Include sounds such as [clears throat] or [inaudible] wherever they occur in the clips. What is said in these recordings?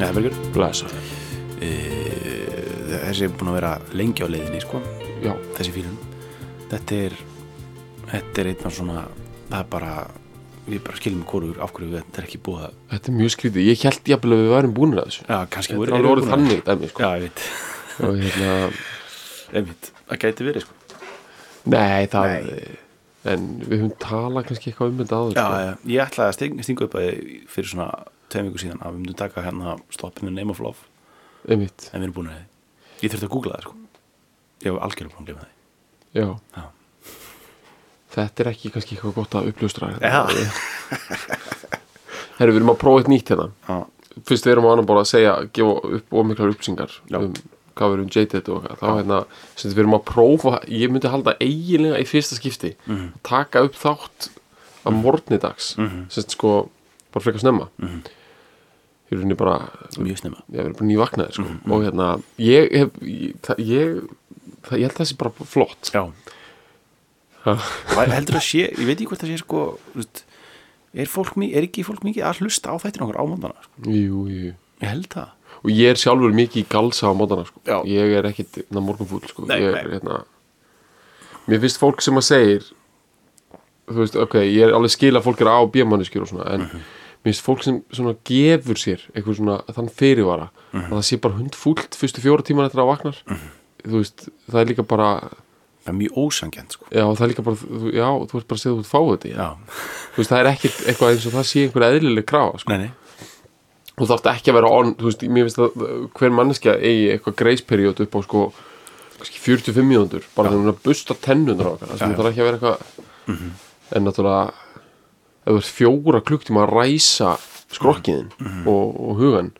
Nei, Bergur, Blessa. Eh, þessi er búin að vera lengi á leiðinni, sko, Já, þessi fílun. Þetta er, þetta er einn af svona, það er bara, við bara skiljum hvorur af hverju þetta er ekki búið að, Þetta er mjög skrítið. Ég held jafnvel að við værum búinir að þessu. já, kannski Þetta voru- er alveg eru orðið búin að- þannig dæmi, sko. Já, ég veit, Og hérna, einmitt, það gæti verið, sko. nei, það, Nei. en við höfum talað kannski eitthvað um þetta áður, Já, sko. já, ég ætlaði að sting, stinga upp að ég fyrir svona tveim viku síðan að við myndum taka hérna stoppinu Name of Love Einmitt, en við erum búin að því Ég þurfti að googla það sko Ég hef algjörlega búin að glemja það já. Já. Þetta er ekki kannski eitthvað gott að uppljóstra. Já. Herru, við erum að prófa eitt nýtt hérna. Já, Fyrst við erum á annan bara að segja, gefa upp ómiklar upplýsingar Já. um hvað við erum jaded og eitthvað. Þá hérna, sem sagt, við erum að prófa, ég myndi halda eiginlega í fyrsta skipti, Mhm. að taka upp þátt að morgni dags, sem sagt, sko, bara frekar snemma. Mm Mhm. -hmm. Ég er henni bara, mjög snemma ég verið bara nývaknaði sko. Mhm. og hérna, ég hef ég, það, ég, það, ég held þessi bara flott Já Ha. Væ- Heldur að sé, ég veit ekki hvort það sé sko þú veist, er, fólk, mi- er ekki fólk mikið að hlusta á þættin okkur á móndana sko. jú, jú. Ég held það og ég er sjálfur mikið í galsa á mótana sko. Já. ég er ekkit na, morgunfúll sko. Nei, ég, nei. er, hérna, mér finnst fólk sem að segir þú veist, ok, ég er alveg skil að fólk er á bjömanniskjur og svona en Mhm. mér finnst fólk sem svona gefur sér eitthvað svona þann fyrirvara Mhm. að það sé bara hundfúllt fyrstu fjóra tíman eftir að það vaknar þú veist, það er líka bara Það er mjög ósangjant sko já, það er líka bara, þú- já, þú ert bara að segja þú ert fáið þetta Já, þú veist, það er ekkert eitthvað eins og það sé einhver eðlileg krafa, sko. nei, nei þú þarft ekki að vera on, þú veist, mér finnst að uh, hver manneskja eigi eitthvað greisperiót upp á sko, kannski 45 mínútur bara þegar hún er að busta tennunar á okkar Já, það já. Mhm. þarf ekki að vera eitthvað en náttúrulega ef þú ert fjóra klukktíma að ræsa skrokkiðin Mhm. og, og hugan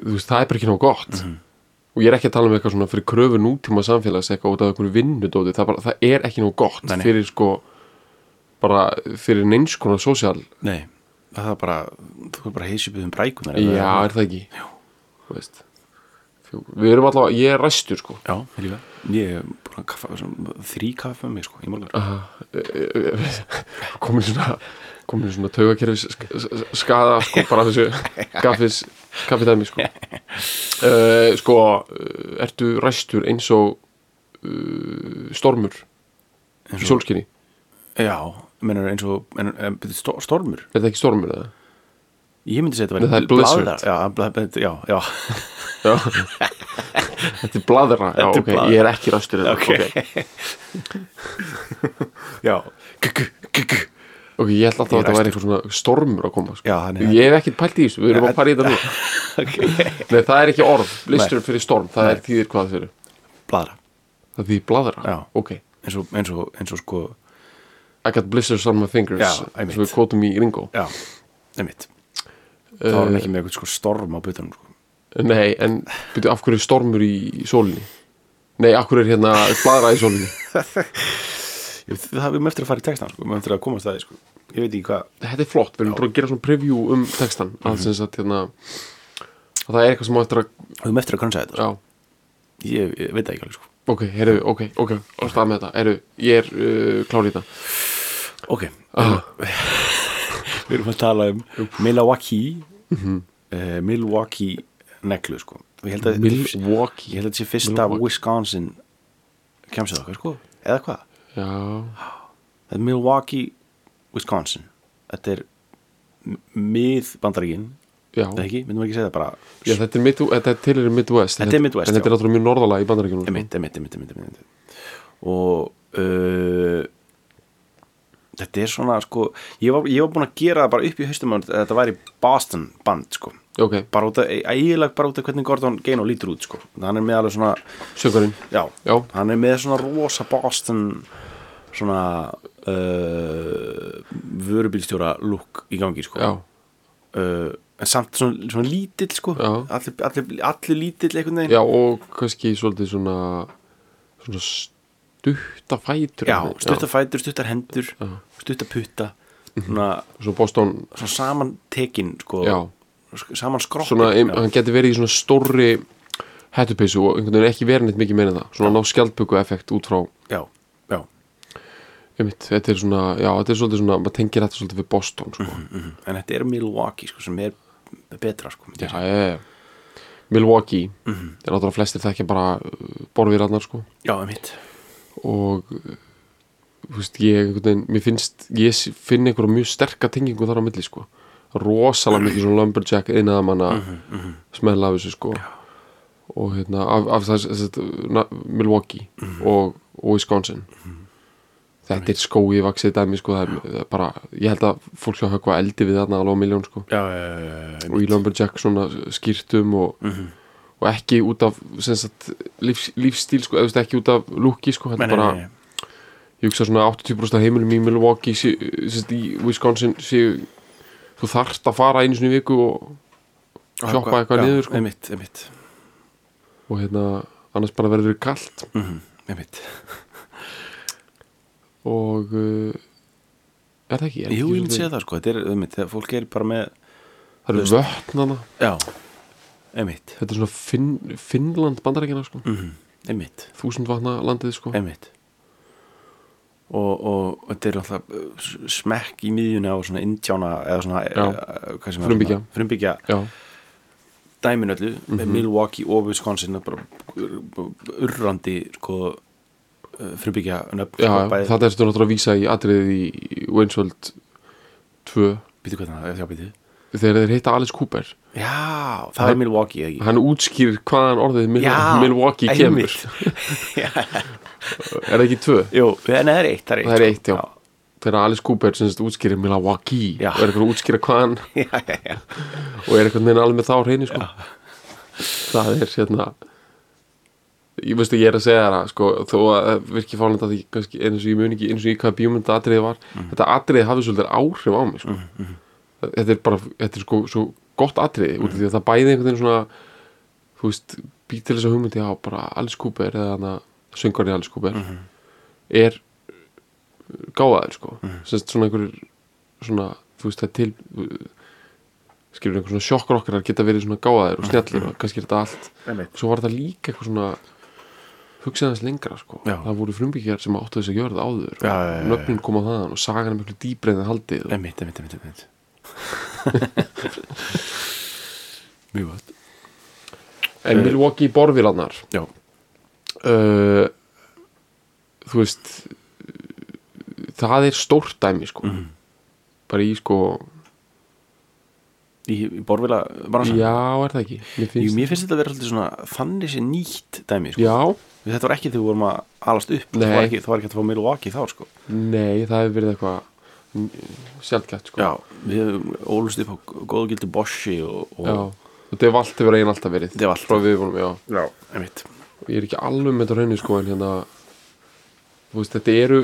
þú veist, það er bara ekki náttúrulega gott Mhm. og ég er ekki að tala um eitthvað svona fyrir kröfu nútíma samfélags eitthvað út af einhverju vinnudóti það, er bara, það er ekki náttúrulega gott Nei, nei. fyrir sko bara fyrir neins konar sósjál Nei, það er bara, þú er bara heisupið um brækunar Já, er það ekki? Já Þú veist Fjó- Við erum allavega, ég er ræstur sko Já, ég líka Ég er bara kaffa, svona, þrý kaffa með mig sko í morgun Aha. komin svona komin svona taugakerfis sk- sk- skada sko bara af [laughs] þessu gaffis, kaffidæmi sko uh, sko uh, ertu ræstur eins og uh, stormur í sólskinni, Já, mennur eins og menur, um, stormur er það ekki stormur eða? Ég myndi segja Nei, þetta það væri er blizzard. blaðra. Já, bla- bla- já, já [laughs] Já. þetta er bladra, já Þetta er ok, blaðra. ég er ekki ræstur eða, Ok. [laughs] Já, K-k- k-k. Ok, ég held alltaf Ég að er þetta væri eitthvað svona stormur að koma sko. Já, þannig að- Ég hef ekkert pælt í þessu, við erum að fara í þetta nú ok Nei, það er ekki orð, blistur fyrir storm Það er þýðir hvað það fyrir Blaðra, Það þýðir bladra, Já. ok eins og, eins og, eins og sko I got blisters on my fingers Já, eins einmitt. og við kótum í Ringo Já, einmitt Það var hann ekki með eitthvað sko storm á butanum sko. Nei, en byrju, af hverju er stormur í, í sólinni? Nei, af hverju er hérna bladra í sólinni? Ég veit, Það við með eftir að fara í textan sko, við með eftir að komast að því sko Ég veit ekki hvað Þetta er flott, við erum bara að gera svona preview um textan Mhm. að sem sagt hérna að það er eitthvað sem á eftir að Við með eftir að kransa þetta sko. Já, ég, ég veit það ekki alveg sko ok, heyrðu, ok, ok, og stað með þetta Heyrðu, ég er uh, klár í þetta Ah. Ok, við erum að tala um Milwaukee Mhm. eh, Milwaukee neglu sko Ég held að Ég Milwaukee held að þetta sé fyrsta Milwaukee. Wisconsin kemsið okkar sko eða hvað? Já, Þetta er Milwaukee, Wisconsin Þetta er m- mið bandaríkin já þetta ekki, myndum ekki segja það bara Já, þetta er, mid, þetta er tilherir Midwest Þetta er Midwest, En þetta já. er náttúrulega mjög norðalega í bandaríkjunum sko. emitt, emitt, emitt, emitt, emitt og uh, þetta er svona sko, ég var, ég var búin að gera það bara upp í haustum á mér að þetta væri Boston band sko ok, bara út að, eiginlega bara út að hvernig Gordon Gano lítur út sko, hann er með alveg svona söngurinn já, Já. hann er með svona rosa Boston svona uh, vörubílstjóra look í gangi sko já, uh, en samt svona, svona lítill sko Já. allir, allir, allir lítill einhvern veginn já og kannski svolítið svona svona stuttafætur Já, stuttar fætur, stuttar hendur stuttar putta Mhm. svona, svona Boston svona saman tekin sko, Já. sk- saman skroppin svona, já. ein, hann geti verið í svona stórri hættupissu og einhvern veginn ekki verið neitt mikið meina það svona ná skjaldböku effekt út frá já, já, einmitt, þetta er svona, já, þetta er svolítið svona maður tengir þetta svolítið við Boston sko. mhm. en þetta er Milwaukee sko, sem er betra sko, myndi já, ég já, já, já. Milwaukee mm -hmm. er náttúrulega flestir þekkja bara borðvíraðnar sko segja. já, mitt og uh, þú veist, ég, einhvern veginn, mér finnst ég s- finn einhverja mjög sterka tengingu þar á milli sko rosalega mikið svona lumberjack innaðamanna mm -hmm. smella af þessu sko og hérna af, af þess, þess, na, Milwaukee og, og Wisconsin þetta er skói vaksið dæmi sko það er, það er bara, ég held að fólk hjá höggva eldi við þarna alveg á miljón sko já, já, já, já, og í einmitt. Mhm. Lumberjack svona skýrtum og, og ekki út af sem sagt, líf, lífstíl sko, eða þú veist, ekki út af lúki sko, þetta Nei, er nei, bara nei, nei. ég hugsa svona 80% af heimilum í Milwaukee sé, sem sagt, í Wisconsin séu þú þarft að fara einu sinni í viku og, Og sjoppa eitthvað já, niður, sko. einmitt, einmitt, og hérna annars bara verður þér kalt mhm, einmitt. og uh, er það ekki? Er jú, ekki ég myndi svolítið- segja það sko, þetta er einmitt, þegar fólk er bara með það eru vötnana, já, einmitt þetta er svona Finn, Finnland bandarækina sko, mhm, einmitt þúsund vatna landið sko einmitt og, og þetta er alltaf smekk í miðjunni á svona indjána eða svona, Já. eh, hvað sem er, Frumbyggja. Mhm. svona frumbyggja já, dæmin öllu, Milwaukee og Wisconsin er bara urrandi sko eh, frumbyggja nöfn já, sko, bæði- þetta er náttúrulega að vísa í atriðið í Wainsworld 2 Bíddu, hvernig það er, já, bíddu. þegar þeir heita Alice Cooper já, það er Milwaukee eða ekki hann útskýrir hvaðan orðið Mil Já, Milwaukee kemur einmitt. [laughs] Já. er það ekki 2? Jú, en það er eitt það það er eitt, er sko. eitt, já þegar Alice Cooper sem sagt útskýrir Milwaukee Já. og er eitthvað að útskýra hvaðan já, já, já, og er eitthvað neina alveg með þá á hreinu sko. það er hérna ég veistu ég er að segja það sko, þó að það virki fálenda því kannski, eins og ég mun ekki, eins og ég hvað bíómynda atriði var þetta atriði hafði svolítið áhrif á mig sko. þetta er bara, þetta er sko svo gott atriði út af því að það bæði einhvern veginn svona þú veist, býr til þess að hugmyndi á bara Alice Cooper eða hana söngari Alice Cooper er gáðaður sko mm -hmm. svona einhverjur svona, þú veist, það er til skilur einhver svona sjokkrokkarar geta verið svona gáðaðir og snjallir og kannski er þetta allt einmitt svo var þetta líka eitthvað svona hugsaðans lengra sko Já. það voru frumbyggjar sem áttu þess að gjöra það áður Já, já, já, já. nöfnin koma þaðan og sagan er miklu dýbreið en haldið og, einmitt, einmitt, [laughs] einmitt, einmitt. [laughs] mjög gott eh, en Milwaukee borðvílarnar já, uh, þú veist það er stórt dæmi sko Mhm. bara í sko í, í borvila bransan já er það ekki mér Jú, finnst mér finnst þetta að vera svolítið svona þannig sé nýtt dæmi, sko. já Þetta var ekki þegar við vorum að alast upp, það Nei. var ekki, það var ekki að fá Milwaukee þá, sko. nei það hefur verið eitthvað mm, sjaldgæft sko Við hefum ólust upp á góðu gildu Boshi og... og Já. og þetta hefur allt hefur eigin alltaf verið Þetta hefur alltaf- frá við vorum já Já, einmitt. ég er ekki alveg með þetta raunni sko en hérna þú veist, þetta eru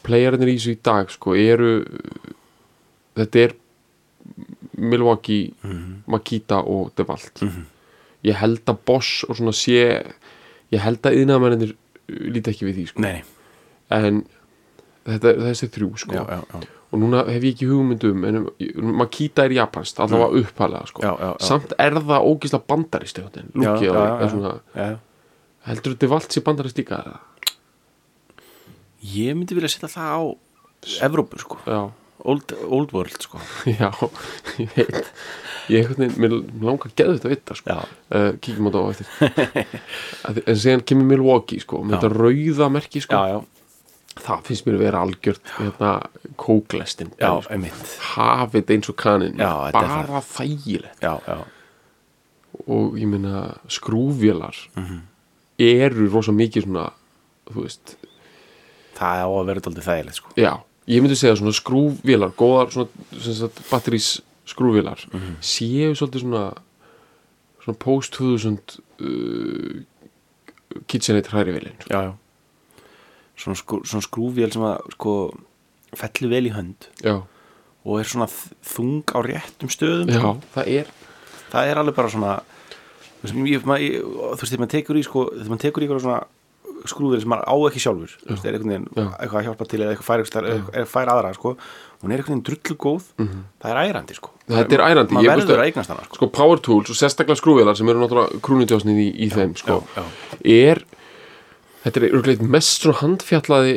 playarinnir í þessu í dag sko eru þetta er Milwaukee, Mhm. Makita og Devalt ég held að Bosch og svona sé ég held að yðnaðamennir líti ekki við því sko. Nei, nei. en þetta, þessi þrjú sko Já, já, já. og núna hef ég ekki hugmyndum en um, Makita er japanst, allavega mm. uppalega sko. Já, já, já. samt er það ógisla bandarist lúkið já, á já, því já. svona- Já. heldur þetta vald sér bandarist líka eða? Ég myndi vilja setja það á Evrópu, sko. Já, Old, old world, sko. [laughs] já, ég veit Ég einhvern veginn, mér langar geðu þetta að vita sko. Já. uh, Kíkjum á þetta á eftir Að því- En síðan kemur Milwaukee sko, með Já. þetta rauða merki sko. Já, já. Það finnst mér að vera algjört hérna, kóklestin Já, Sko. einmitt. Hafið eins og kanin Já, þetta er Bara þægilegt Já, já. Og ég meina skrúfjölar Mhm. eru rosa mikið svona Þú veist, Það á að vera daldið þægilegt, sko. já ég myndi segja svona skrúfvélar góðar svona, svona batterís skrúfvélar séu svolítið svona svona post 2000 uh, KitchenAid hrærivelin sko. já, já svona, skrú, svona skrúfvél sem að sko, fellur vel í hönd já, og er svona þ- þung á réttum stöðum já, það er það er alveg bara svona þú veist, ég, mað, ég, þú veist þegar maður tekur í sko, þegar maður tekur í eitthvað svona skrúfvél sem maður á ekki sjálfur þú veist, er einhvern veginn Já. eitthvað að hjálpa til eða eitthvað fær, eitthvað, eitthvað, fær aðra sko. hún er einhvern veginn drullu góð það er ærandi sko Mhm. Þetta er ærandi, ég maður veist verður að- að eignast hana sko. sko power tools og sérstaklega skrúfélar sem eru náttúrulega krúnitjásnið í, í þeim sko, já, er þetta er örgleitt mest svona handfjallaði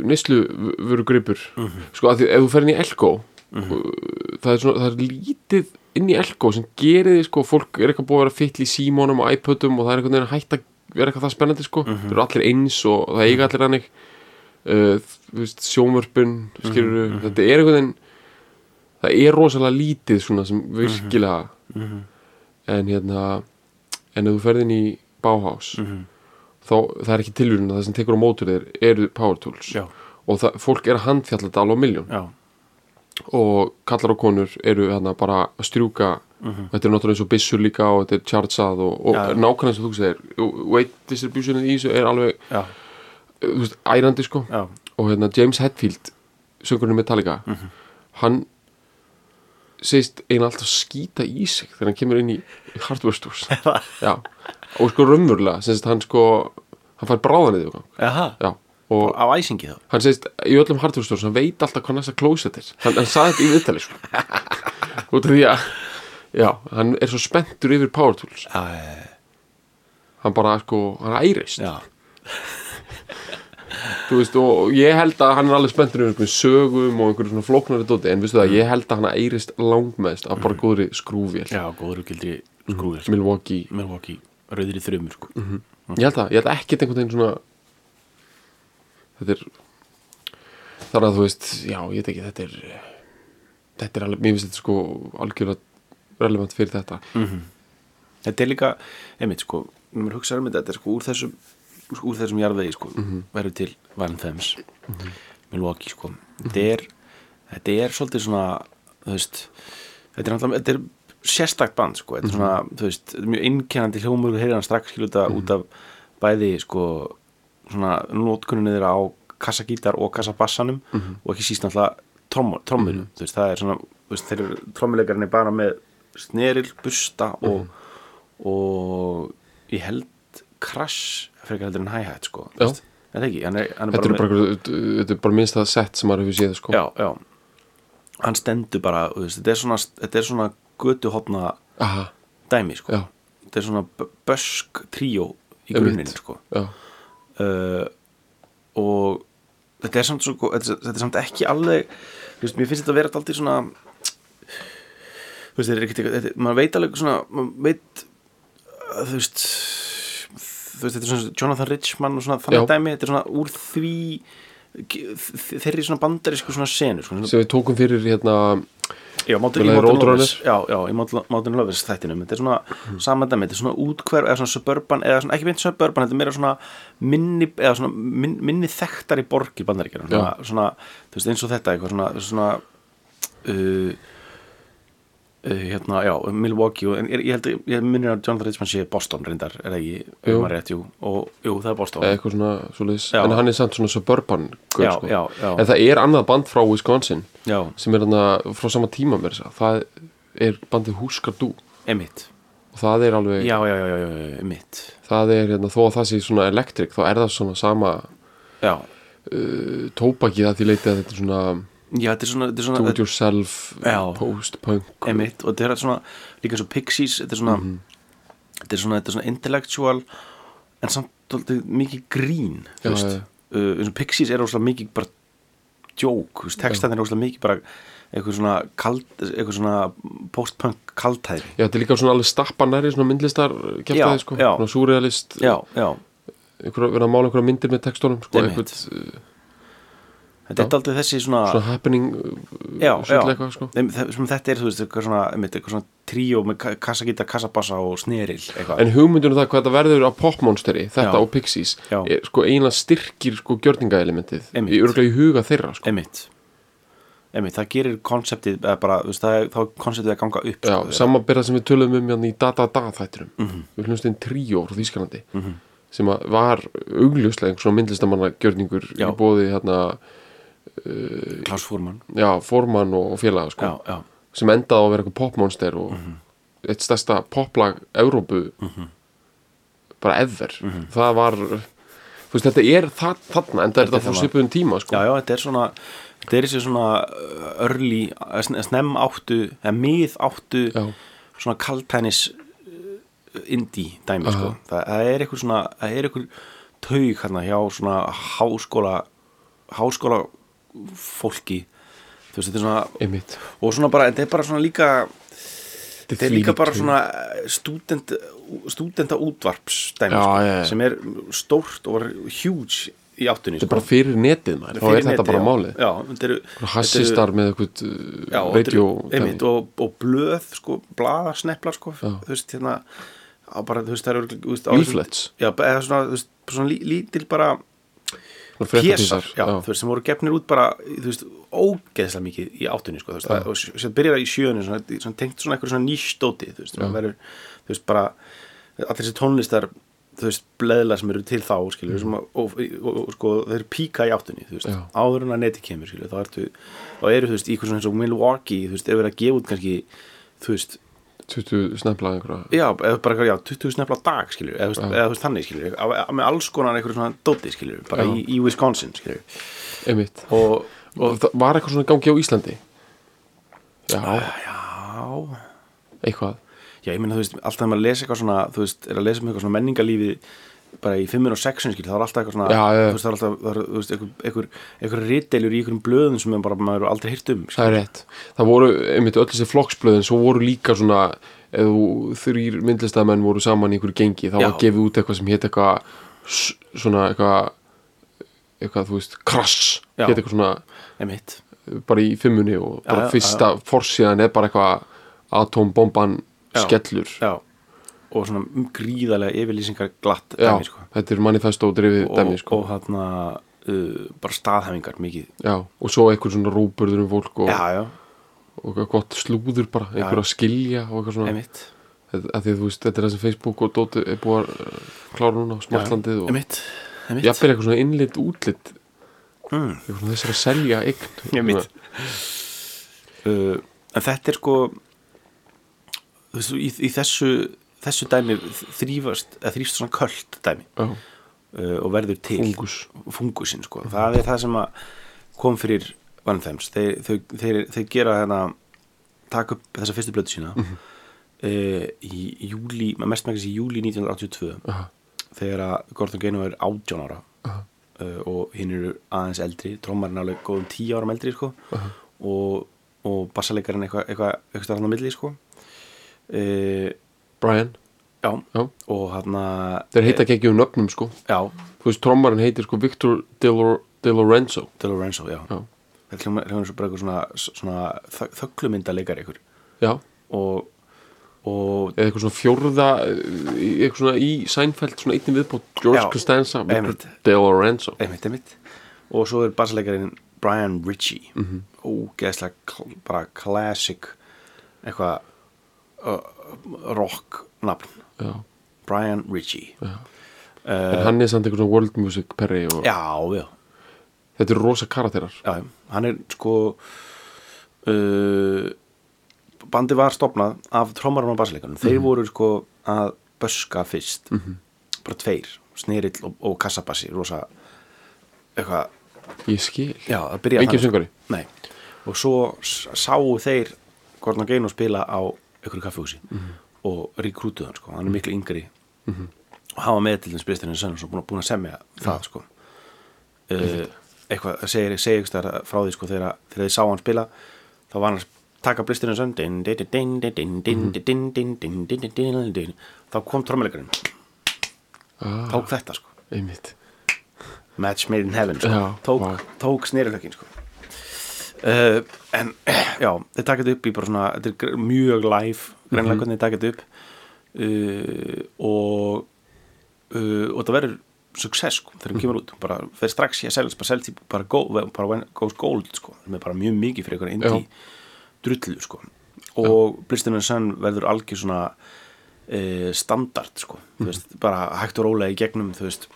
neyslu veru gripur Mhm. sko að því ef þú ferð inn í Elko uh, það er svona, það er lítið inn í Elko sem gerir því sko fólk er eitthvað búið að vera fyll í símónum og iPodum og það er einhvern veginn hægt að vera eitthvað það spennandi sko, Mhm. mm eru allir eins og það eiga allir hannig uh, þú veist, sjómörpun skilur, Mhm, þetta er einhvern veginn það er rosalega lítið svona sem Mhm. virkilega en hérna en ef þú ferðin í Bauhaus Mhm. þá það er ekki tilvíðun það sem tekur á mótur þér eru power tools já, og það, fólk er að handfjalla þetta alveg á miljón já, og kallar og konur eru hérna bara að strjúka þetta er náttúrulega eins og byssur líka og þetta er chargeað og, og Mhm. Já, já. nákvæmlega sem þú segir weight distributionið í þessu er alveg já, þú veist, ærandi sko já, og hérna James Hetfield söngurinn í Metallica hann segist eiginlega alltaf skýta í sig þegar hann kemur inn í hardware stores já, og sko raunverulega sem sagt hann sko, hann fær bráðan yfir Aha, já, og á æsingi þá hann segist í öllum hardware stores hann veit alltaf hvað næsta klóset er hann, hann saði þetta í viðtali sko út af því að já, hann er svo spenntur yfir power tools já, já, já. hann bara sko, hann ærist Já, þú veist, og ég held að hann er alveg spenntur yfir einhverjum sögum og einhverjum svona flóknari dóti, en veistu það, ég held að hann eirist langmest af bara góðri skrúvél Mhm. já góður og gildri Mhm. skrúður mm. Milwaukee, Milwaukee, rauðri þrjumur sko. Mhm. mm -hmm. ég held að, ég held að ekkert einhvern veginn svona þetta er þar að þú veist, já, ég veit ekki, þetta er þetta er alveg, mér finnst þetta sko algjörlega relevant fyrir þetta Mhm. Þetta er líka, einmitt sko Nú maður hugsaður með þetta, er sko úr þessum úr þessum jarðvegi sko, verður til Van Thames, Milwaukee sko þetta er, þetta er svolítið svona, þú veist þetta er, náttúrulega- þetta er sérstakt band sko, þetta er svona, þú veist, þetta er mjög einkennandi hljómur og heyrið hann strax skilur þetta út af bæði sko svona nótkunnið þeirra á kassagítar og kassabassanum og ekki síst náttúrulega trommur, trommur þú veist, það er svona, þú veist, þeir eru trommuleikarinn er bara með sneril, busta og, og ég held crash frekar heldur en hi-hat sko þú Já. veist. er það ekki, hann er, hann er þetta er með- bara, einhver- þetta er bara minnst það sett sem maður hefur séð sko já, já. hann stendur bara þú veist, þetta er svona, þetta er svona götuhopna Aha, dæmi sko. Já. þetta er svona b- bösk tríó í Einmitt. grunninn sko. já, uh, og þetta er samt, svo, gó- þetta, er- þetta er samt ekki alveg þú veist, mér finnst þetta að vera alltaf svona þú veist, þetta er ekkert eitthvað þetta- maður veit alveg svona maður veit, uh, þú veist þú veist, þetta er svona Jonathan Richman og svona þannig Já. dæmi, þetta er svona úr því þeirri svona bandarísku svona senu sko, svona, sem við tókum fyrir hérna já, Við Mountain, í lagið Mountain Roadrunner. Lovers já, já, í Mountain Mountain Lovers þættinum þetta er svona mm. samandami, þetta er svona útkverf eða svona suburban, eða svona, ekki beint suburban þetta er meira svona minni, eða svona minni, minni þekktari borg í bandaríkjara svona, svona, þú veist, eins og þetta eitthvað svona, svona uh, uh, hérna, já, Milwaukee og, en ég, ég held, að- ég minnir að Jonathan Richman sé Boston reyndar, er það ekki, ef Jú. Eh. maður rétt, jú og, jú, það er Boston eða eitthvað svona svoleiðis Já. en hann er samt svona suburban gaur, Já, sko. já, já. en það er annað band frá Wisconsin já, sem er hann frá sama tíma mér það er bandið Húskardú og emitt það er alveg já, já, já, já, já, já, emitt það er hérna, þó að það sé svona elektrik þá er það svona sama já, tópaki það því leiti að þetta er svona já, þetta er svona, þetta er svona do it yourself, Já. post-punk Einmitt, og þetta er svona, líka eins og Pixies þetta er svona, Mhm. þetta er svona, þetta er svona intellectual en samt dálítið mikið grín þú Já, veist. já. Uh, eins og Pixies er óslega mikið bara joke, þú veist, textan er óslega mikið bara eitthvað svona, kald, eitthvað svona post-punk kaltæði já, þetta er líka svona alveg stappa næri svona myndlistar Já, kæftaði sko, já. svona súrealist já, já, einhverja, verða að mála einhverja myndir með textunum sko, Einmitt. eitthvað, þetta er dálítið þessi svona, svona happening uh, já, já, svona eitthvað sko Einmitt, þe- sem þetta er, þú veist, eitthvað svona, einmitt, eitthvað svona tríó með ka- kassagítar, kassabassa og sneril eitthvað, en hugmyndunum það hvað þetta verður á popmonsteri þetta Já. og Pixies Já. er sko eiginlega styrkir sko gjörningaelementið Einmitt. í örgulega í huga þeirra sko. einmitt emi, það gerir konseptið eða bara, þú veist, það, er- þá er konseptið að ganga upp Já, sko, samanbyrða sem við tölum um hérna í data-data-þætturum Mhm. Við hlustum tríó frá Þýskalandi sem að var augljóslega einhver svona myndlistamanna gjörningur Já. í bóði hérna, Klaus Fúrmann já, formann og, og félaga sko, já, Mhm. já, sem endaði á að vera eitthvað popmonster og eitt stærsta poplag Evrópu Mhm. bara ever það var þú veist, þetta er það, þarna en það er þetta það frá var- svipuðum tíma sko. já, já, þetta er svona þetta er þessi svona uh, örli snem áttu, eða mið áttu Já. svona kaltænis uh, indie dæmi sko. það, það er eitthvað svona, það er eitthvað taug hérna hjá svona háskóla háskóla fólki þú veist, þetta er svona einmitt og svona bara, þetta er bara svona líka þetta er líka þvílíkt bara hugmynd. svona student, studenta útvarps dæmi, Já, sko, já, já. sem er stórt og var huge í áttunni sko. þetta er bara fyrir netið maður, þá er þetta bara málið já, þetta eru þetta hassistar eru- með eitthvað já, uh, þetta eru- radio einmitt, og, og blöð, sko, blaða sneplar sko, Já. þú veist, hérna á bara, þú veist, það eru örugglega, þú veist, á- Leaflets. já, eða svona, þú veist, svona lí- lítil bara fréttatísar já, þú veist, sem voru gefnir út bara, þú veist, ógeðslega mikið í áttunni, sko, þú veist, það, og s- sem byrjar í sjöunni, svona, í- svona tengt svona eitthvað svona nýstóti, þú veist, svona verður, þú veist, bara, allir þessi tónlistar, þú veist, bleðla sem eru til þá, skilur, sem, að- og, og, og, sko, þeir píka í áttunni, þú veist, Mhm. Já. áður en að neti kemur, skilur, þá ertu, þá eru, þú veist, í eitthvað svona eins og Milwaukee, þú veist, ef verið að gefa út kannski, þú veist, 20 snefla einhverja já, eða bara, eitthvað, já, 20 snefla á dag, skilur, eða, þú veist- eða þú veist, þannig, skilur, með alls konar einhverjum svona dóti, skilur, bara Já. í, í Wisconsin, skilur, einmitt og, og það var eitthvað svona í gangi á Íslandi já, Já, eitthvað já, ég meina þú veist, alltaf þegar maður lesa eitthvað svona, þú veist, er að lesa um eitthvað svona menningalífi bara í fimmur og sexun, skil, þá er alltaf eitthvað svona, Já, já, já. þú veist, það er alltaf, það er, þú veist, einhver, einhver, einhver ritdeilur í einhverjum blöðum sem er bara, maður er aldrei hýrt um, skil. Það er rétt. Það voru, einmitt, öll þessi flokksblöðin, svo voru líka svona, ef þú þrýr myndlistamenn voru saman í einhverju gengi, þá Já. var gefið út eitthvað sem hétt eitthvað, s- svona eitthvað, eitthvað, þú veist, krass, Já. hétt eitthvað svona, Einmitt. bara í fimmunni og bara Já, já, fyrsta forsíðan er bara eitthvað atombomban Já. skellur. Já, og svona gríðarlega yfirlýsingar glatt, Já, dæmi, sko. þetta er manifesto drifið Og, dæmi, sko. og þarna, uh, bara staðhæfingar mikið. Já, og svo einhver svona rúburður um fólk og, Já, já, og eitthvað gott slúður bara, einhver að skilja og eitthvað svona. einmitt. Þetta- af því að þú veist, þetta er það sem Facebook og Dóti er búið að uh, klára núna á smartlandið og Einmitt, einmitt. jafnvel eitthvað svona innlit útlit Mm. eitthvað svona þessar að selja eign Einmitt. uh, en þetta er sko þú veist, í, í þessu þessu dæmi þrýfast eða þrýfst svona köld dæmi Já, uh, og verður til Fungus. fungusinn sko, það er það sem að kom fyrir Vanfems þeir, þeir, þeir, þeir gera hérna taka upp þessa fyrstu blötu sína mm í júli mest megnis í júli 1982 Aha. þegar að Gordon Gano er 18 ára uh, og hinn eru aðeins eldri trommarinn er alveg góðum 10 árum eldri sko, og, og bassalegarinn eitthvað eitthvað eitthvað staðar þarna á milli sko. uh, Brian, já, Já. og hann þeir heita ekki ekki um nöfnum sko já, þú veist, trommarinn heitir sko Victor De, Lor De Lorenzo De Lorenzo, já, Já, þetta hljóma hljóma eins og bara eitthvað svona, svona þögglumyndalegar ykkur já, og, og eða eitthvað svona fjórða uh, í- eitthvað svona í Seinfeld svona einnig viðbót, George Já, Costanza Victor einmitt. De Lorenzo einmitt, einmitt og svo er bassalegarinn Brian Ritchie mm Mhm. -hmm. ógeðslega kl- bara classic eitthvað uh, rock nafn Já. Brian Ritchie já, en hann er samt eitthvað svona world music perri og já, já, þetta eru rosa karakterar já. hann er sko uh, bandi var stopnað af trommarum og bassalegarinn þeir voru sko að böska fyrst bara tveir, snerill og, og kassabassi rosa eitthvað ég skil, Já, það byrjaði Enginn þannig. söngvari? Nei, og svo s- sáu þeir Gordon Gano spila á einhverju kaffehúsi og rekrútuðu hann sko, hann er miklu yngri og hafa með til þess Bristin Sönnes og búin, búin að semja það sko uh, eitthvað, segir, segir eitthvað frá því sko þegar, þegar þið sá hann spila þá var hann að taka Bristin Sönn þá kom trommeleikarinn tók þetta sko Ah, einmitt Match made in heaven sko. Já, tók, vá. tók snerilökin sko. uh, en [clears throat] já, þeir taka þetta upp í bara svona þetta er gr- mjög live greinlega Mhm. hvernig þeir taka þetta upp uh, Eh, og uh, og það verður success sko, þegar hún Mhm. kemur út bara fer strax í að selja, bara selja bara, go, bara when, goes gold sko, sem er bara mjög mikið fyrir einhverja Já. indie drullu sko og Blistin and Sun verður algjör svona e, standard sko, Mhm. þú veist, bara hægt og rólega í gegnum, þú veist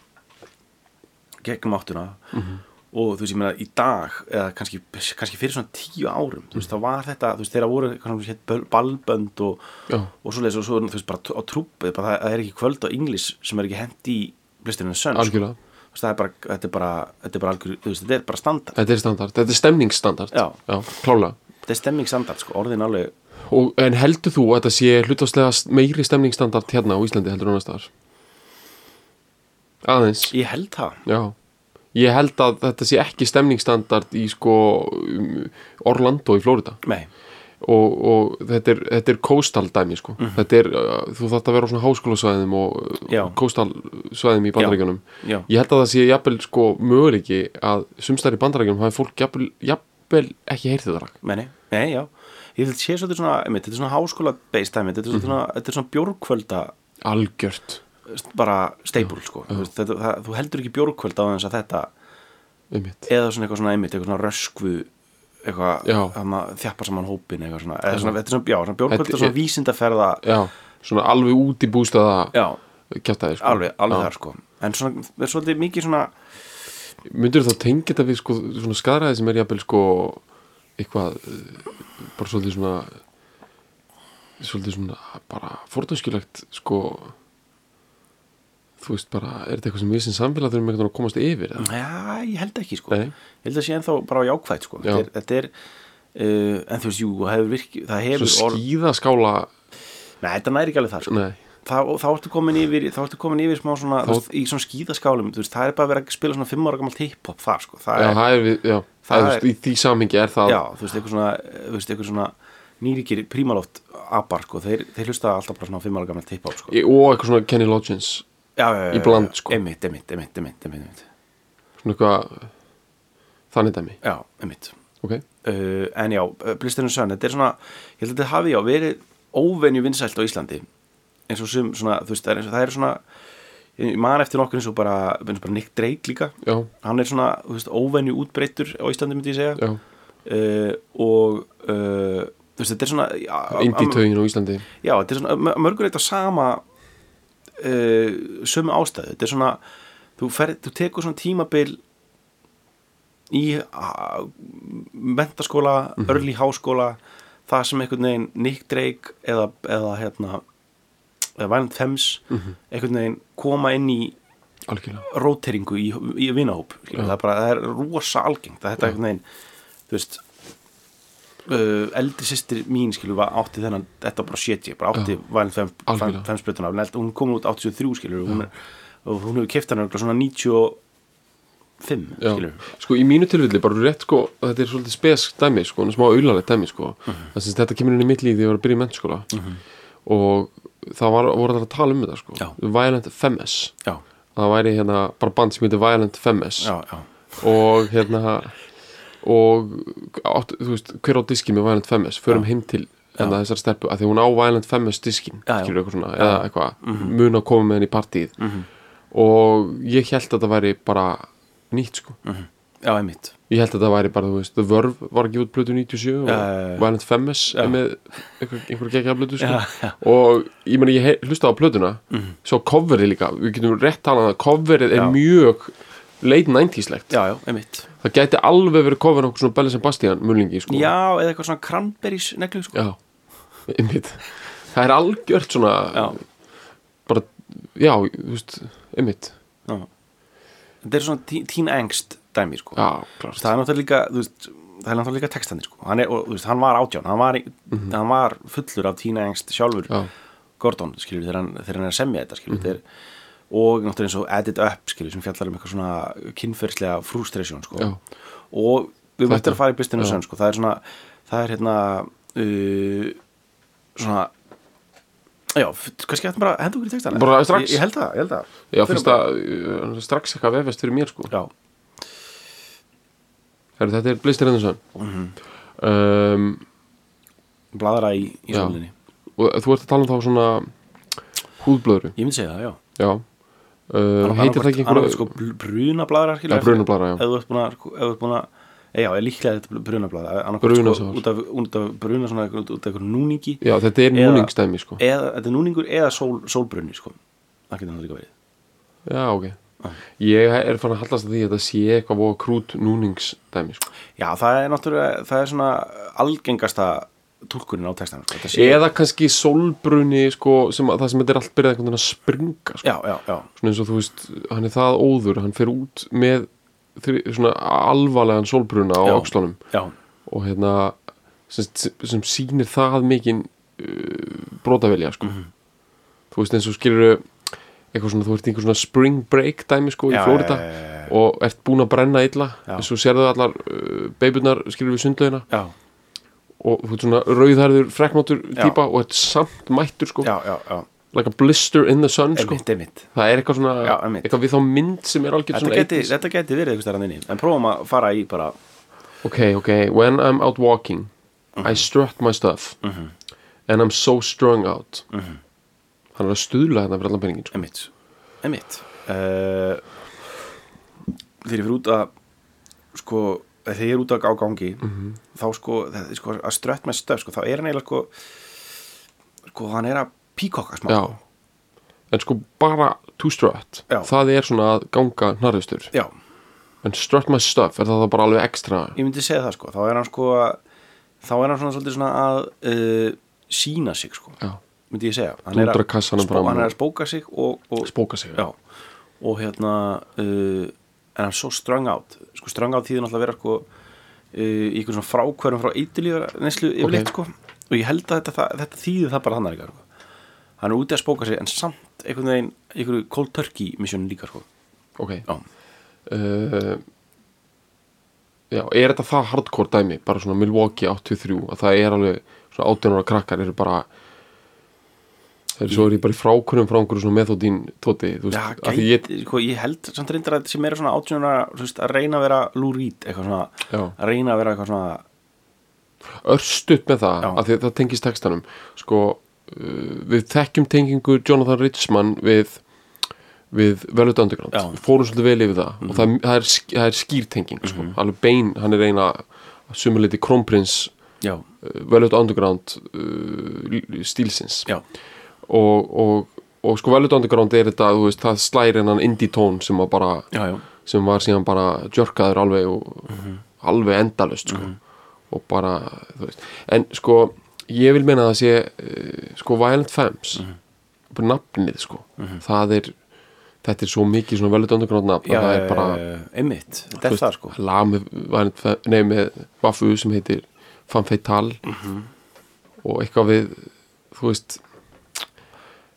gegnum áttuna Mhm. og þú veist, ég meina í dag eða kannski, kannski fyrir svona tíu árum þú veist, þá var þetta, þú veist, þeirra voru hvað sem hét, böl- ballbönd og, Já. og svoleiðis og svo, þú veist, bara t- á trúpið bara, það- það er ekki kvöld á English sem er ekki hent í Blistin and Sun sko. algjörlega Þú veist, það er bara, þetta er bara, þetta er bara algjör, þú veist, þetta er bara standard Þetta er standard, þetta er stemningsstandard Já. klálega þetta er stemmingsstandard, sko, orðin alveg og, En heldur þú að þetta sé hlutastlega meiri stemningsstandard hérna á Íslandi heldur annars staðar? Aðeins ég held það Já Ég held að þetta sé ekki stemningsstandard í sko um, Orlando í Flórida Nei, og, og þetta er, þetta er coastal dæmi sko. þetta er, uh, þú þarft að vera á svona háskólasvæðum og uh, Mhm. Já. coastal svæðum í bandaríkjunum Já. ég held að það sé jafnvel sko möguleiki að sumstæri bandaríkjunum hafi fólk jafnvel, jafnvel ekki heyrt þetta lag meni, nei, já ég held sé svolítið svona, einmitt, þetta er svona háskóla based time, þetta er Mhm. svona, þetta er svona bjórkvölda algjört st- bara staple, sko Þú veist, þetta, það, þú heldur ekki bjórkvölda á þess að þetta einmitt. eða svona eitthvað svona einmitt, eitthvað svona röskvu eitthvað, Já. þannig að þjappa saman hópin eitthvað svona, eða svona, þetta er svona, já, svona bjórkvölda Þetta svona er- vísindaferða, Já, svona alveg út í bústaða já, kjátaði sko. alveg, alveg Já. þar, sko en svona, er svolítið mikið svona myndur þá tengja þetta við sko, svona skaraði sem er jafnvel sko eitthvað eh, bara svolítið svona svolítið svona bara fordómskilegt sko þú veist bara, er þetta eitthvað sem við sem samfélag þurfum einhvern veginn að komast yfir eða? Já, ég held ekki sko Nei. Ég held að sé ennþá bara jákvætt sko Já. Þetta er, þetta er uh, en þú veist, jú, það hefur virki það hefur svo skíðaskála Nei, þetta næri ekki alveg það sko nei, Þá, þá ertu komin yfir, þá ertu komin yfir smá svona, Þá- þú veist, í svona skíðaskálum þú veist, það er bara að vera að spila svona fimm ára gamalt hip-hop þar sko, það já, er, það er við já, það það er, þú veist, í því samhengi er það já, þú veist, eitthvað svona þú veist, eitthvað svona nýrikir prímaloft abar sko, þeir, þeir hlusta alltaf bara svona fimm ára gamalt hip-hop sko já, og eitthvað svona Kenny Loggins já, já, já, Í bland, já, sko. einmitt, einmitt, einmitt, einmitt, einmitt, svona eitthvað þannig dæmi, já, einmitt ok? uh, en já, Blisterinn Sönn þetta er svona, ég held að þetta hafi já verið óvenju vinsælt á Íslandi eins og sem svona, þú veist, það er, eins og- það er svona ég man eftir nokkur eins og bara, eins og bara Nick Drake líka já, hann er svona, þú veist, óvenju útbreyttur á Íslandi myndi ég segja já, uh, og uh, þú veist, þetta er svona já, um- indítögin á Íslandi já, þetta er svona mörgulegt á sama uh, sömu ástæðu þetta er svona, þú, fer, þú tekur svona tímabil í uh, mentaskóla, early háskóla það sem einhvern veginn Nick Drake eða, eða hérna eða Violent Femmes einhvern veginn koma inn í algjörlega, róteringu í, í vinahóp skilur. það er bara, það er rosa algengt að þetta einhvern veginn, þú veist uh, eldri sýstir mín skilur, var, átti þennan, þetta bara 70 bara átti Violent Fem- Algjörlega. Fem splötuna hún kom út 83 skilur hún, er- og hún hefur keft hann örugglega svona 95 Já. skilur sko í mínu tilfelli bara rétt sko þetta er svolítið spes dæmi sko en smá auðlarlegt dæmi sko uh Mhm. -huh. þetta kemur inn í mitt líf þegar ég var að byrja í mennskóla og það var, voru það að tala um þetta sko Já. Violent Femmes já, það væri hérna bara band sem heitir Violent Femmes já, já, og hérna og átt, þú veist, hver á diski með Violent Femmes förum heim til hérna, þessar stelpu að því hún á Violent Femmes diskin Já, Mhm. já. skilur eitthvað svona, eða eitthvað mun að koma með henni í partíð og ég held að það væri bara nýtt sko já, einmitt Ég held að það væri bara, þú veist, The Verve var ekki út plötu 97 og Já, já, já. Violent Femmes er með einhver, einhver gekkja plötu sko. Já, já. Mhm. og ég meni, ég he- hlustaði á plötuna svo coverið líka, við getum rétt talað um að coverið er Já. mjög late 90s-legt, já, já, einmitt það gæti alveg verið coverið okkur svona Belli Sebastian mullingi sko. já, eða eitthvað svona cranberries neglu sko. Já. einmitt það er algjört svona já, bara, já, þú veist einmitt, já þetta er svona teen- teen angst dæmi sko. já, klart það er náttúrulega líka þú veist, það er náttúrulega líka textandi sko. hann, er, og, þú veist, hann var átján, hann var, hann var fullur af tína engst sjálfur Mhm. Já. Mhm. Gordon, skilur, þegar hann, þegar hann er að semja þetta skilur, mm og náttúrulega eins og Edit Up skilur, sem fjallar um eitthvað svona kynferðslega frustration sko. Já. og Þetta- við möttum að fara í blistinu já. sönn sko. það er svona, það er hérna uh, svona já, f- kannski hættum bara hendur okkur í textana Bara strax. ég, ég held það, ég held það já, Förum finnst bara- það uh, strax eitthvað vefest fyrir mér sko já, Heru, þetta er Blister Henderson Mhm. um, bladra í, í Já. sólinni og þú ert að tala um þá svona húðblöðru ég myndi segja það, já já, uh, heitir það ekki annað einhverja sko brunablaðra ja, brunablara, ef já, þú ert búin að sko, ef þú ert búin að eh, já, ég líklega þetta brunablaða annarkvæmt sko, Brunasár. út af, út af bruna svona út út af einhverjum núningi já, þetta er Eða- núningstæmi sko. eða, þetta er núningur eða sól, sólbrunni sko. það getur það líka verið já, ok ég er fann að hallast að því að þetta sé eitthvað voða krút núningstæmi sko. já, það er náttúrulega, það er svona algengasta tólkunin á textan sko. Þetta sé- eða kannski sólbruni sko, sem, að- það sem þetta er allt byrjað einhvern veginn að springa sko. já, já, já, svona eins og þú veist, hann er það óður hann fer út með þri, svona alvarlegan sólbruna á Já. öxlunum já, og hérna sem, sem sýnir það mikinn uh, brotavelja sko. Mhm. þú veist eins og skilur eitthvað svona, þú ert í einhver svona spring break dæmi sko í Já, Flórida já, já, já, já. og ert búin að brenna illa Já. eins og sérðu allar uh, beibunar skilur við sundlaugina já, og þú ert svona rauðhærður freknóttur Já. típa og ert samt mættur sko já, já, já. like a blister in the sun sko emitt, emitt það er eitthvað svona, Já, einmitt. eitthvað við þá mynd sem er algjörð Þetta svona geti, 80s. þetta geti verið eitthvað stærðan inni En prófum að fara í bara Okay, okay. When I'm out walking, Mhm. I strut my stuff and I'm so strung out. Mhm. Hann er að stuðla þetta fyrir allan penningin. Sko. Emitt Emitt uh, Þegar ég fyrir út að Sko Þegar ég er út að á gangi Mhm. Þá sko, það, sko Að strött með stöf sko, Þá er hann eiginlega sko Sko hann er að píkokka smá Já. En sko bara to strut, Já. það er svona að ganga hnarðustur. Já, En strut my stuff, er það þá bara alveg ekstra? Ég myndi segja það sko Þá er hann sko að- Þá er hann svona svolítið svona að uh, Sýna sig sko Já. Myndi ég segja Hann Dúndra kassanum spó, fram hann er og- að spóka sig og, og, Spóka sig. Já, og hérna uh, en hann er svo strung out sko, strung out þýðir náttúrulega að vera sko, uh, í einhvern svona frákværum frá eitilífara neyslu yfirleitt sko. og ég held að þetta, það, þetta þýðir það bara hann er eitthvað sko. hann er úti að spóka sig en samt einhvern veginn, einhverju cold turkey misjónu líka sko. Ok. já, Uh, já, er þetta það hardcore dæmi, bara svona Milwaukee 83, að það er alveg svona 18 ára krakkar eru bara þeir svo er ég bara í frákunnum frá einhverju svona methodín tóti, þú veist, já af því gæti, ég, sko, ég held samt reyndar að þetta sé meira svona átjónara að reyna að vera lúrít eitthvað svona, já, að reyna að vera eitthvað svona örstutt með það Já. af því að það tengist textanum sko, uh, við þekkjum tengingu Jonathan Richman við við Velvet Underground Já. Mhm. Við fórum svolítið vel yfir það og það, það, er, sk- það er skýrtenging sko. alveg bein, hann er eina sumuleiti krónprins já, uh, Velvet Underground uh, l- stílsins já, og, og, og sko Velvet Underground er þetta, þú veist, það slæri hennan indie tón sem að bara já, Mhm. já. sem var síðan bara djörkaður alveg og alveg endalust sko. Mhm. og bara, þú veist en sko, ég vil meina að það sé uh, sko Violent Femmes Mhm. bara nafnið sko það er, þetta er svo mikið svona velut underground nafn já að það er bara eh, einmitt, þú þetta er það sko lag með, Violent Fem- nei, með Vafu sem heitir Femme Fatale Mhm. og eitthvað við þú veist,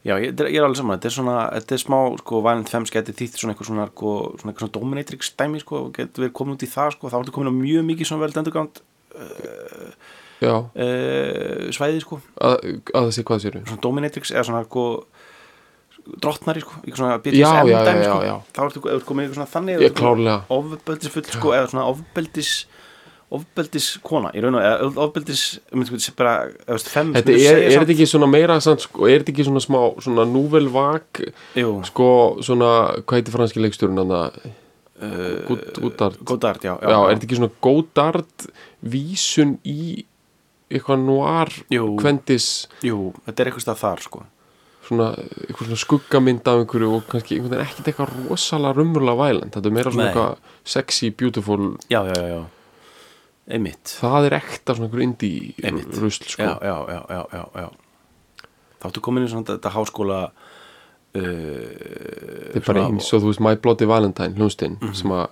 Já, ég, þetta er- ég er alveg saman, þetta er svona, þetta er smá, sko, Violent Femmes geti þýtt svona eitthvað svona, sko, svona eitthvað svona dominatrix dæmi, sko, og getur verið komin út í það, sko, þá ertu komin á mjög mikið svona veld endurgánd já uh, svæði, sko, að, að það sé hvað sér við svona dominatrix eða svona, sko, drottnari, sko, eitthvað svona Já, BDSM já, já, dæmi, sko, já, já. þá ertu ef þú ert komin í eitthvað svona þannig, Ég klárlega. ofbeldisfull, sko, eða svona ofbeldis, ofbeldis kona, ég raun og, eða ofbeldis, um þetta bara, eða veist, fem, Þetta er, er þetta ekki svona meira samt, sko, er þetta ekki svona smá, svona núvel vak Jú, sko, svona, hvað heitir franski leikstjórun hann að Godard Godard, Eh, já, Já, er þetta ekki svona Godard vísun í eitthvað noir Jú. kvendis Jú, þetta er eitthvað stað þar, sko. svona, eitthvað svona skuggamynd af einhverju og kannski einhvern veginn ekkert eitthvað rosalega rumurlega vælend, þetta er meira svona Nei. eitthvað sexy, beautiful, já, já, já, já. einmitt það er ekta svona einhver indie Einmitt. rusl sko já, já, já, já, já, já. þá ertu komin í svona þetta háskóla uh, þetta er bara svona- Mhm. eins og þú veist My Bloody Valentine hljónstinn sem að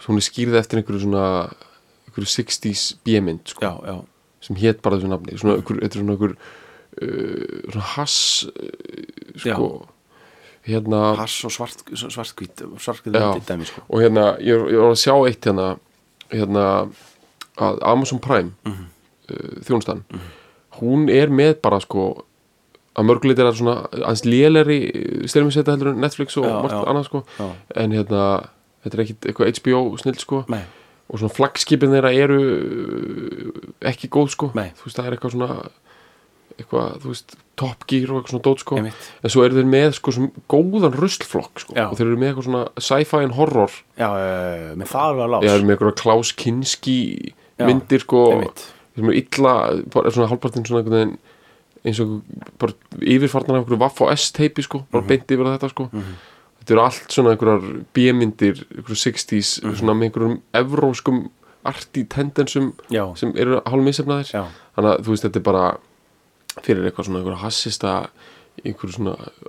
hún er skýrð eftir einhverju svona einhverju 60s bjömynd sko, já, já, sem hétt bara þessu nafni svona, einhver, þetta er svona einhver uh, svona hass uh, sko hérna hass og svart, svartkvít svartkvít Já. myndi dæmi sko og hérna ég, ég var að sjá eitt hérna hérna að Amazon Prime mm Mhm. þjónustan hún er með bara sko að mörguleiti er það svona aðeins léleri styrmiseta heldur en Netflix og Já, margt já. annað sko Já. en hérna þetta er ekkit eitthvað HBO snill sko nei, og svona flagskipin þeirra eru uh, ekki góð sko Nei. þú veist það er eitthvað svona eitthvað, þú veist, Top Gear og eitthvað svona dót sko, Einmitt. en svo eru þeir með sko sem góðan ruslflokk sko Já. og þeir eru með eitthvað svona sci-fi and horror já, já, með það alveg að lás þeir eru með eitthvað Klaus Kinski Já, myndir sko einmitt. sem eru illa, bara svona halvpartinn svona einhvern veginn eins og bara yfirfarnar af einhverju Waff og S-teipi sko bara Mhm. beint yfir að þetta sko þetta eru allt svona einhverjar B-myndir einhverju 60s, Mhm. svona með einhverjum evróskum arti tendensum Já. sem eru hálfmissefnaðir Já. þannig að þú veist þetta er bara fyrir eitthvað svona einhverja hassista einhverju svona uh,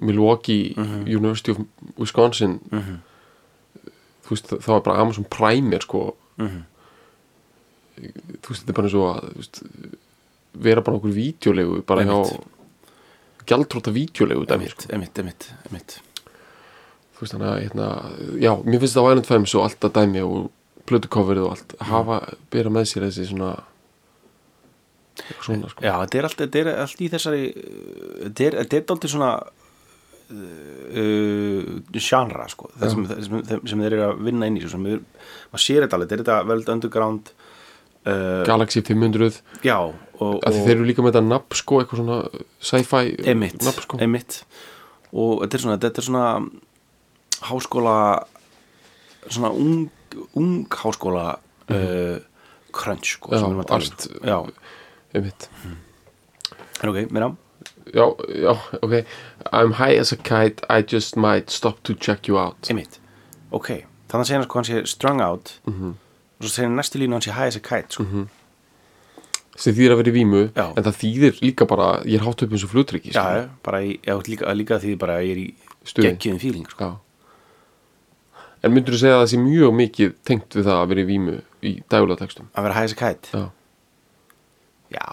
Milwaukee Mhm. University of Wisconsin þú veist það var bara Amazon Prime er sko Mhm. þú veist þetta er bara eins og að þú veist, vera bara okkur vídeolegu bara hjá Einmitt. gjaldróta vídeolegu dæmi sko. Einmitt, einmitt, einmitt, einmitt. þú veist þannig að hérna, já, mér finnst það á Island Femmes og allt að dæmi og plötucoverið og allt Mhm. hafa, bera með sér þessi svona eitthvað svona sko Já, þetta er allt, þetta er allt í þessari uh, þetta er, þetta er dálítið svona uh, sjánra sko, það sem, það sem, þeim- sem þeir eru að vinna inn í svo sem við, maður sér þetta alveg, þetta er þetta veld underground uh, Galaxy 500 já og, og að þeir eru líka með þetta nafn sko eitthvað svona sci-fi einmitt, nafn sko einmitt og þetta er svona, þetta er svona háskóla svona ung, ung háskóla uh, crunch sko, Mhm. Já, sem við erum að tala um, allt- sko. já, einmitt er ok, meira já, já, ok I'm high as a kite, I just might stop to check you out Einmitt, ok Þannig að segja hann sko hann sé strung out og svo segja hann næstu línu hann sé high as a kite sko. sem þýðir að vera í vímu Já. en það þýðir líka bara, ég er hátt upp eins og sko. flutryggi Já, já, bara í, já, líka, líka því bara að ég er í Stuði. geggjum fíling sko. Já. En myndur þú segja að það sé mjög mikið tengt við það að vera í vímu í dagulega textum? að vera high as a kite Já, Já,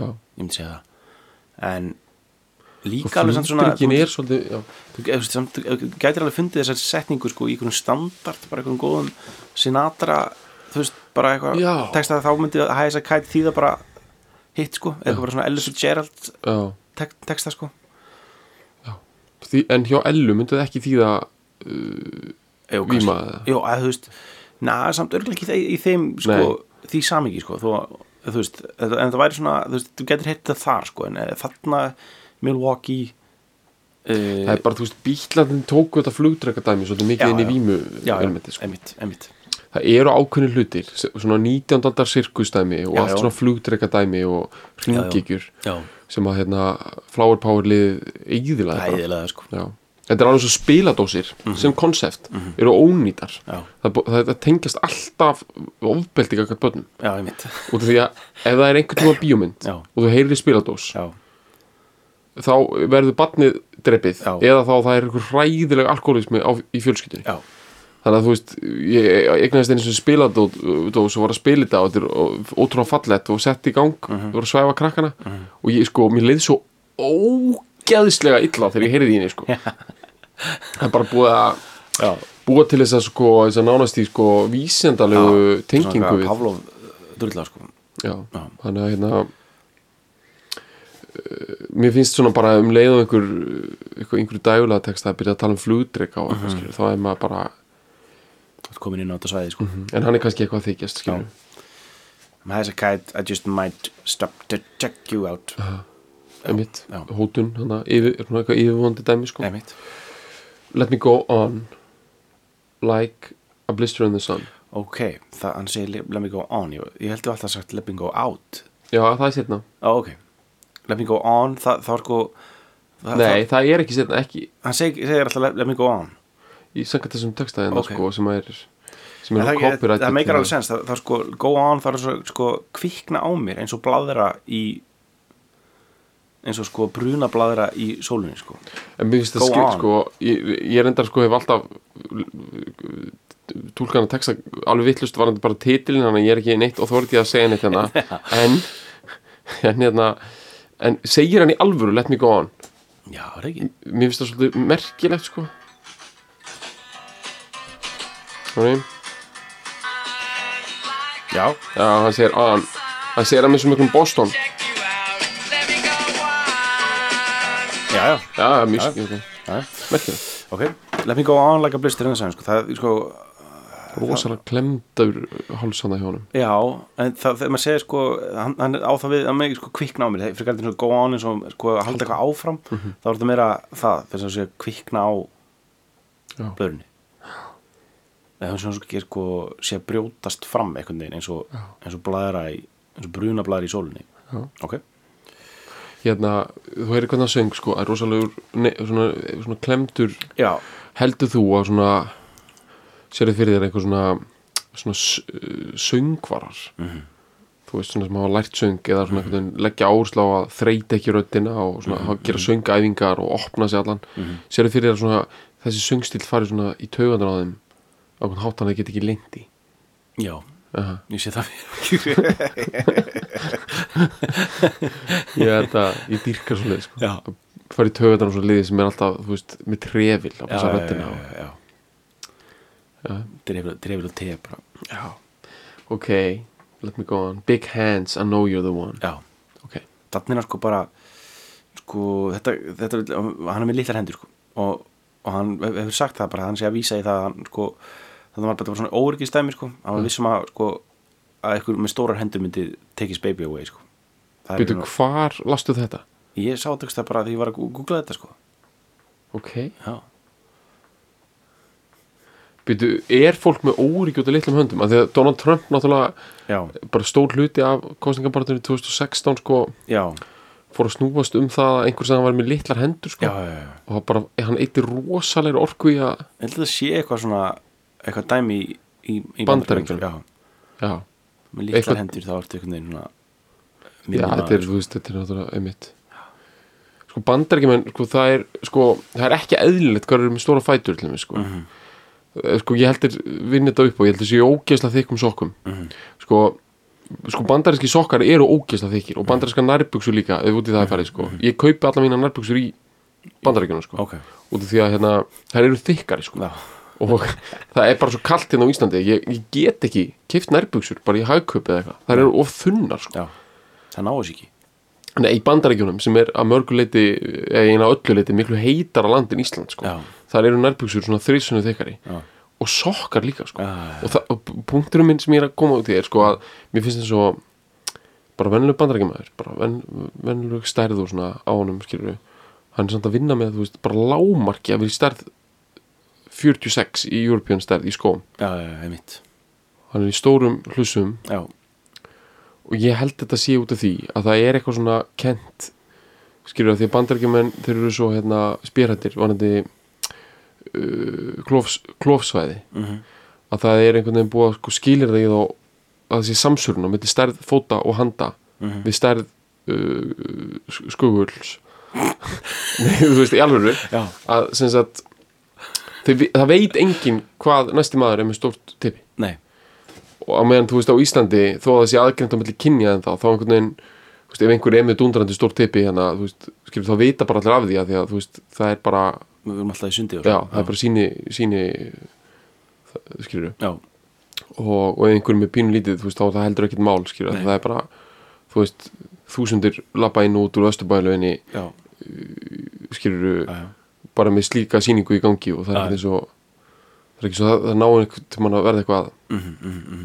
já. ég myndi segja það en Og líka alveg samt svona flutryggin þú- er svolítið, já. þú þú- samt- þú gætir alveg fundið þessar setningu sko, í einhvern standart, bara einhvern góðum Sinatra, þú veist, bara Já. eitthvað tekst að þá myndi að high as a kite þýða bara hitt sko, eitthvað bara svona Ellis og Gerald já. texta sko Því, en hjá Ellu myndu það ekki þýða, Jó, Víma kannski. eða? Jó, að þú veist Na, samt örgulega ekki í, í þeim sko, því samingi, sko þó, að, þú veist, þetta- en það væri svona þú, veist, þú getur heitt það þar, sko en eh, þarna Milwaukee það uh, er bara, þú veist, bíklandin tóku þetta flugtrekadæmi svolítið mikið Já, inn í já. vímu já, elmenti, sko. emitt, emitt Það eru ákveðni hlutir, s- svona 19. aldar sirkustæmi og Já, allt já. svona flugtrekadæmi og hringigjur Já, sem að, hérna, Flower Power liðið eigðilega æðilega, sko Já. Þetta er alveg svo spiladósir sem konsept eru ónýtar Mhm. Já. það, bú- það, það tengjast alltaf ofbeldi kakart börnum Já, emitt, út af því að ef það er einhvern tíma bíómynd Já. og þú heyrir spiladós já, þá verður barnið dreipið Já. eða þá það er einhver hræðileg alkoholismi á, í fjölskyldunni já þannig að þú veist, ég ég eignaðist einu sem spiladós og var að spila þetta og þetta er ó- ótrúlega fallett og sett í gang og Mhm. var að svæfa krakkana og ég sko, mér leið svo ógeðslega illa þegar ég heyrði í henni sko. það er bara búið að Já, búa til þess að sko, þess að nánast í sko vísendalegu tengingu Svona við Pavlov drulla, sko já, Já. þannig að hérna eh, mér finnst svona bara um leið og einhver, einhver einhverju dægulega text að byrja að tala um flugdreika og Mhm. eitthvað skilur, þá er maður bara Þú ert komin inn á þetta svæði, sko en hann er kannski eitthvað að þykjast skilur I'm high as a kite, I just might stop to check you out Uh-huh. einmitt, já. hótun hann að yfir, er svona eitthvað yfirvonandi dæmi sko Emitt let me go on like a blister in the sun Ok, það, hann segir le- let me go on Ég, ég held þú alltaf sagt let me go out já, það er setna Ó, ok Let me go on, það, það er sko það, nei, það, það er ekki setna, ekki Hann segir, segir alltaf let, let me go on í sangat þessum texta hérna Ok. sko sem er sem En er Það, það, copyrighted hérna. það meikar til alveg sens það, það er sko, go on, það er svo, sko kvikna á mér eins og bladra í eins og sko bruna bladra í sólunni sko En mér finnst það Go skil, on. sko, ég, ég reyndar sko hef alltaf túlkan að texta alveg vittlust varandi bara titilin hann ég er ekki neitt og þó er ekki að segja neitt [laughs] hérna en, en hérna en segir hann í alvöru, let me go on Já, það er ekki mér finnst það svolítið merkilegt sko Þannig, Já, já, hann segir on hann segir hann með svo miklum Boston já, já, já, já, mjög, ok, já. merkilegt Ok, let me go on like a blister in the sun sko. Það, sko, rosalega klemdaur hálsana hjá honum Já, en það, þegar maður segir sko hann, hann er á það við, hann með sko kvikna á mér þegar fyrir gætið go on eins og sko að halda eitthvað áfram Mhm. þá er þetta meira það þess að segja kvikna á Já. blöðrunni eða hann svona sko, sko sé að brjótast fram einhvern veginn eins og, eins og blæðra í eins og bruna blæðra í sólinni Já. ok, hérna, þú heyrir hvernig það söng sko, að rosalegur, ne, svona, svona klemdur já, heldur þú að svona sérðu fyrir þér einhver svona svona s- uh, söngvarar Mhm. þú veist svona sem hafa lært söng eða svona einhvern veginn leggja áherslu á að þreita ekki röddina og svona Mhm, mm gera söngæfingar og opna sig allan mm -hmm. sérðu fyrir þér að svona þessi söngstíl fari svona í taugandur á þeim á hvern hátan þeir get ekki lengt í já Aha. [laughs] ég sé það fyrir ég, er þetta, ég dýrkar svo leið sko. já, fari í taugandur á svo liði sem er alltaf þú veist, með trefil að passa röddina og já, já. Drefur, drefur og te bara Já, ok Let me go on, big hands, I know you're the one já, Ok, þarna er sko bara sko, þetta, þetta hann er með litlar hendur sko og, og hann hefur sagt það bara, hann sé að vísa í það að hann, sko, það var bara þetta var svona óryggistæmi sko, hann Mm. var vissum að sko að einhver með stórar hendur myndi take his baby away sko Það er byrju, svona- hvar lastu þetta? ég sá þetta bara því ég var að gú- googla þetta sko Ok, já, byrju, er fólk með óríkjóta litlum höndum? Af því að Donald Trump náttúrulega já, bara stór hluti af kostningabartunni 2016 sko já, fór að snúast um það að einhver sem hann var með litlar hendur já, sko já, já. og það bara, hann eitti rosalegri orku í að Ég held að það sé eitthvað svona eitthvað dæmi í, í, í Bandaríkjunum. já, Já, með litlar Eitthvað- hendur þá ertu einhvern veginn svona já minni þetta er, maður, þú veist, þetta er náttúrulega einmitt Sko bandarækjumenn, sko það er sko, það er ekki eðlilegt hvað þeir eru með stóra fætur til þeim sko Mhm. Eh, sko ég heldur vinna þetta upp og ég heldur séu ógeðslega þykkum sokkum Mhm. sko, sko bandaríski sokkar eru ógeðslega þykkir Mhm. og bandaríska nærbuksu líka ef út í það er farið sko ég kaupi alla mína nærbuksur í bandaríkjunum sko ok, út af því að hérna, þær eru þykkari sko já, og [laughs] það er bara svo kalt hérna á Íslandi ég, ég get ekki keift nærbuksur bara í hagkaupi eða eitthvað, þær eru of þunnar sko já það náðu sér ekki Nei, í bandaríkjunum sem er að mörguleiti eða eina ölluleiti miklu heitara land en Ísland sko. Já. þar eru nærbuksur svona þrísunni þykari Já. og sokkar líka sko. Já, já, og, það, og punkturum minn sem ég er að koma út í er sko, að mér finnst það svo bara vennileg bandaríkjamaður bara ven, vennileg stærð og svona á honum skilur hann er samt að vinna með þú veist, bara lámarki að vera í stærð 46 í European stærð í skóm já, já, einmitt hann er í stórum hlussum já, og ég held þetta sé út af því að það er eitthvað svona kent skilur að því að bandarækjumenn þeir eru svo hérna spjærhættir vonandi uh, klófs, klófsvæði Mhm. að það er einhvern veginn búið að sko, skilir það í þá að það sé samsörun á milli stærð fóta og handa Mhm. við stærð uh, skuguls [laughs] Nei, þú veist, í alvöru Já. að sem sagt þeir vi- það veit enginn hvað næsti maður er með stórt tippi nei, og á meðan þú veist á Íslandi þó að það sé aðgreint á milli kynja en þá þá einhvern veginn, þú veist, ef einhver er með dundrandi stór tippi hérna, þú veist, skilur þá vita bara allir af því að því að þú veist, það er bara já, við erum alltaf í sundi og það er bara síni, síni það- skilur, já, og, og ef einhver er með pínu lítið, þú veist, þá er það heldur ekkert mál, skilur, Nei. það er bara þú veist, þúsundir lappa inn og út úr östubæðlauginni, já, skilur já, já. bara með slíka síningu í gangi og það er Já. ekki eins og það er ekki svo það, það ná einhvern tímann að verða eitthvað mm Mhm,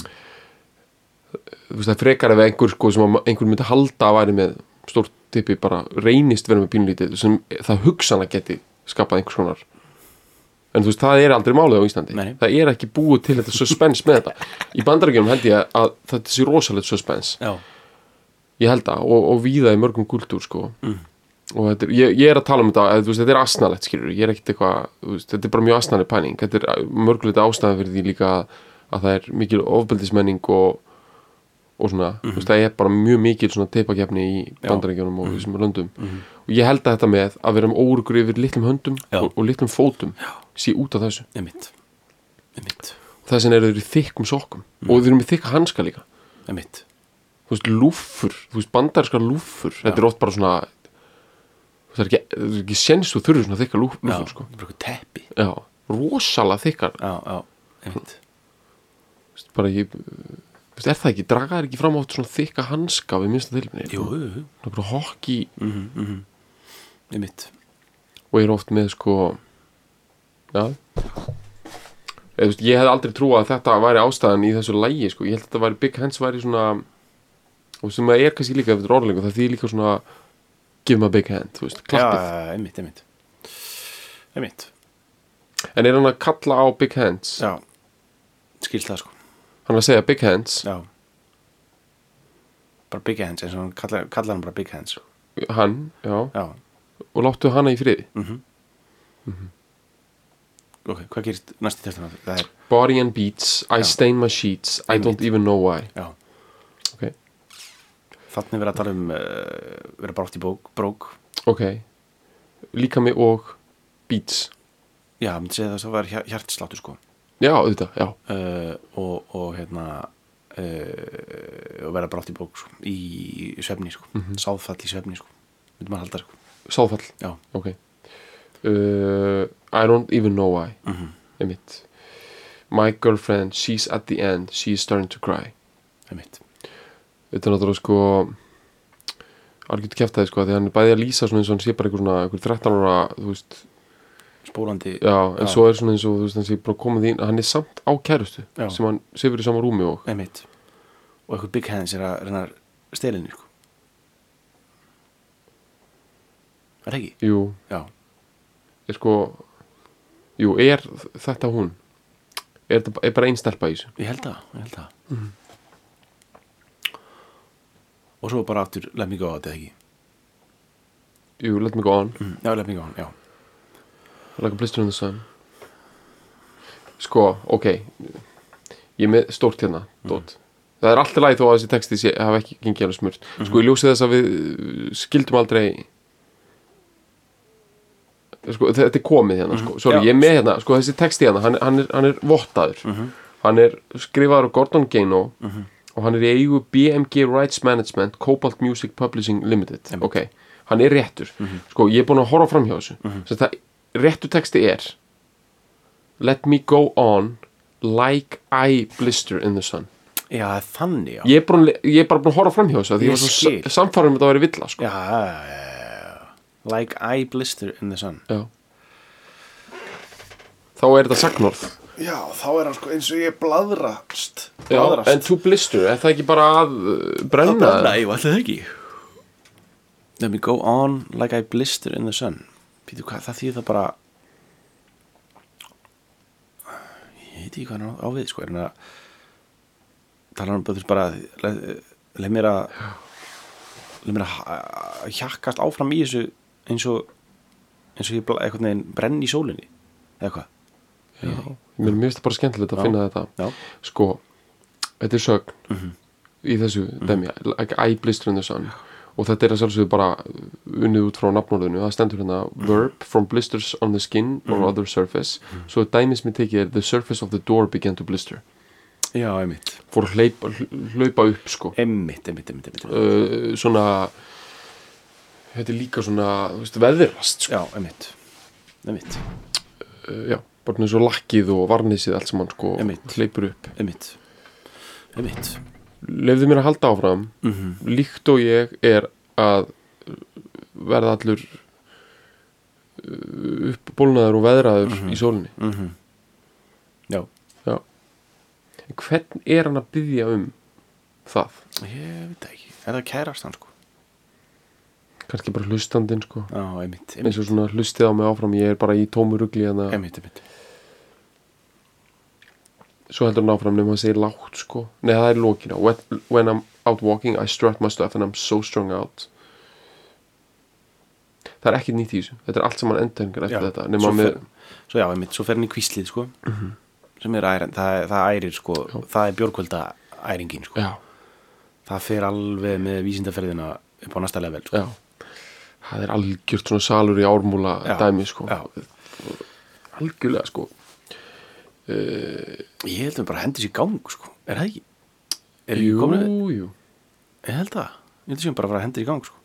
þú veist það er frekar ef einhver sko sem að ma- einhver myndi halda að væri með stórt tippi bara reynist vera með pínlítið sem það hugsanlega geti skapað einhvers konar en þú veist það er aldrei málið á Íslandi Nei. það er ekki búið til þetta suspense með þetta í bandarækjunum held ég að þetta sé rosalegt suspense já. ég held það og, og víða í mörgum kultúr sko og þetta er, ég, ég er að tala um þetta eða, þú veist, þetta er asnalett skilur, ég er ekkert eitthvað þú veist, þetta er bara mjög asnaleg pæling þetta er mörgulegt ástæðan fyrir því líka að það er mikil ofbeldismenning og, og svona, þú veist, það er bara mjög mikil svona teipakefni í bandarækjunum og þessum löndum og ég held að þetta með að vera um órugur yfir litlum höndum Já. og, og litlum fótum sé út af þessu einmitt einmitt, þess vegna eru þeir í þykkum sokkum og þeir eru með þykka hanska líka einmitt þú veist, lúfur, þú veist, bandarskar lúfur þetta er oft bara svona það er ekki, það er ekki sens þú þurfur svona þykka lúf, já, lúfur, sko bara eitthvað teppi já, rosalega þykkar já, já, einmitt þú veist, bara ég þú veist, er það ekki, draga er ekki fram átt svona þykka hanska við minnsta tilfinni jú, jú, jú. nokkur hokki einmitt og ég er oft með sko já eða, þú veist, ég hef aldrei trúað að þetta væri ástæðan í þessu lægi sko. ég held að þetta væri Big Hands væri svona og sem það er kannski líka eftir orðlingu það þýðir líka svona give him a big hand, þú veist, klappið Já, einmitt, einmitt Einmitt, en er hann að kalla á big hands já Skilst það sko, hann er að segja big hands já Bara big hands, eins og hann kallar, kallar hann bara big hands sko. hann, já, Já, og láttu hana í friði Mm. ok, hvað gerist næsti testan Það er, body and beats, I stain my sheets I don't even know why já ok, Þannig verið að tala um uh, vera bara oft í bók, brók ok líka mig og beats Já, ég myndi segja það að það var hjar- hjartsláttur sko já, auðvitað, já, uh, og, og hérna uh, og vera bara oft í bók sko, í svefni sko, Mhm. sáðfall í svefni sko myndi maður halda sko, sáðfall já, ok uh, I don't even know why mhm, einmitt my girlfriend, she's at the end she is starting to cry einmitt þetta er náttúrulega sko algjörð kæftæði sko, því hann er bæði að lýsa svona eins og hann sé bara einhver svona, einhver 13 ára þú veist, spólandi, já, en Já. svo er svona eins og þú veist, hann sé bara komið inn, hann er samt á kærustu Já. sem hann sefur í sama rúmi og einmitt og eitthvað big hands er að reyna stelinni sko er það ekki? jú, já, er sko jú, er þetta hún er, þetta- er bara ein stelpa í þessu ég held það, ég held það Mhm. og svo bara aftur lemming á þetta ekki Mhm, jú, let me go on já, lemming á hann, já Like a blister in the sun Sko, ok Ég er með stórt hérna Dót Mhm. Það er alltaf lægi þó að þessi texti sé, hafa ekki gengið alveg smurt Sko, ég ljósi þess að við uh, skildum aldrei Sko, þe- þetta er komið hérna sko. Sorry, Já. ég er með hérna, sko, þessi texti hérna Hann, hann, er, hann er vottaður Hann er skrifaður á Gordon Gano Og hann er í eigu BMG Rights Management Cobalt Music Publishing Limited Ok, hann er réttur Sko, ég er búinn að horfa fram hjá þessu mm það, Réttu texti er Let me go on Like I blister in the sun já, þannig, já Ég er, búin, ég er bara búinn að horfa fram hjá þessu af Því ég Ég var skil. svo samfærum að þetta væri villa sko. já, já, já. like I blister in the sun Já. Þá er þetta sagnorð Já, þá er hann sko eins og ég bladrast Já, En to blister, er það ekki bara að uh, brenna? jú, alltaf ekki Let me go on like I blister in the sun Pítu, hvað, það þýðir það bara Ég veit ekki hvað hann á- á við, sko Er hann að Tala hann bara, þú veist, bara leið le mér að leið mér að ha- hjakkast áfram í þessu eins og eins og ég bla- einhvern veginn brenn í sólinni eða hvað Mér mér finnst það bara skemmtilegt að Já. finna þetta Já. Sko, þetta er sögn Í þessu dæmi like I blister in the sun Og þetta er að sjálfsögðu bara unnið út frá nafnórðinu Það stendur hérna Verb from blisters on the skin or other surface Svo dæmis mér tekið er The surface of the door began to blister Já, einmitt Fór að hleypa, hl- hlaupa upp sko Einmitt, einmitt, einmitt, einmitt. uh, Svona Þetta er líka svona þú veist, Veðrast sko Já, einmitt Einmitt, uh, Já, bara eins og lakkið og varnisið allt saman sko Einmitt. Hleypur upp einmitt Einmitt lefðu mér að halda áfram Mhm. líkt og ég er að eh, verða allur uh, uppbólnaður og veðraður Mhm. í sólinni Mm. Já Já. En hvern er hann að byggja um það? Ég veit það ekki Er það kærast hann sko? kannski bara hlustandinn sko Já, eins einmitt Einmitt, og svona hlustið á mig áfram ég er bara í tómu rugli hérna einmitt, einmitt. svo heldur hann áfram nefnum hann segir lágt sko nei það er lókina when, when I'm out walking I strut my stuff and I'm so strung out það er ekkert nýtt í þessu þetta er allt saman endengar eftir Já, þetta svo nema með Mhm. fer- Svo já, einmitt Svo fer hann í kvíslið sko Sem er ærin Það, er- það ærir sko Það er björkvölda æringin sko já, Það fer alveg með vísindaferðina upp á næsta level sko já það er algjört svona salur í ármúla Já, dæmi sko já. algjörlega sko Ég held að bara hendur sér í gang sko Er það ekki? Er ekki jú, komin jú Ég held það Ég held að séum bara að fara að hendur í gang sko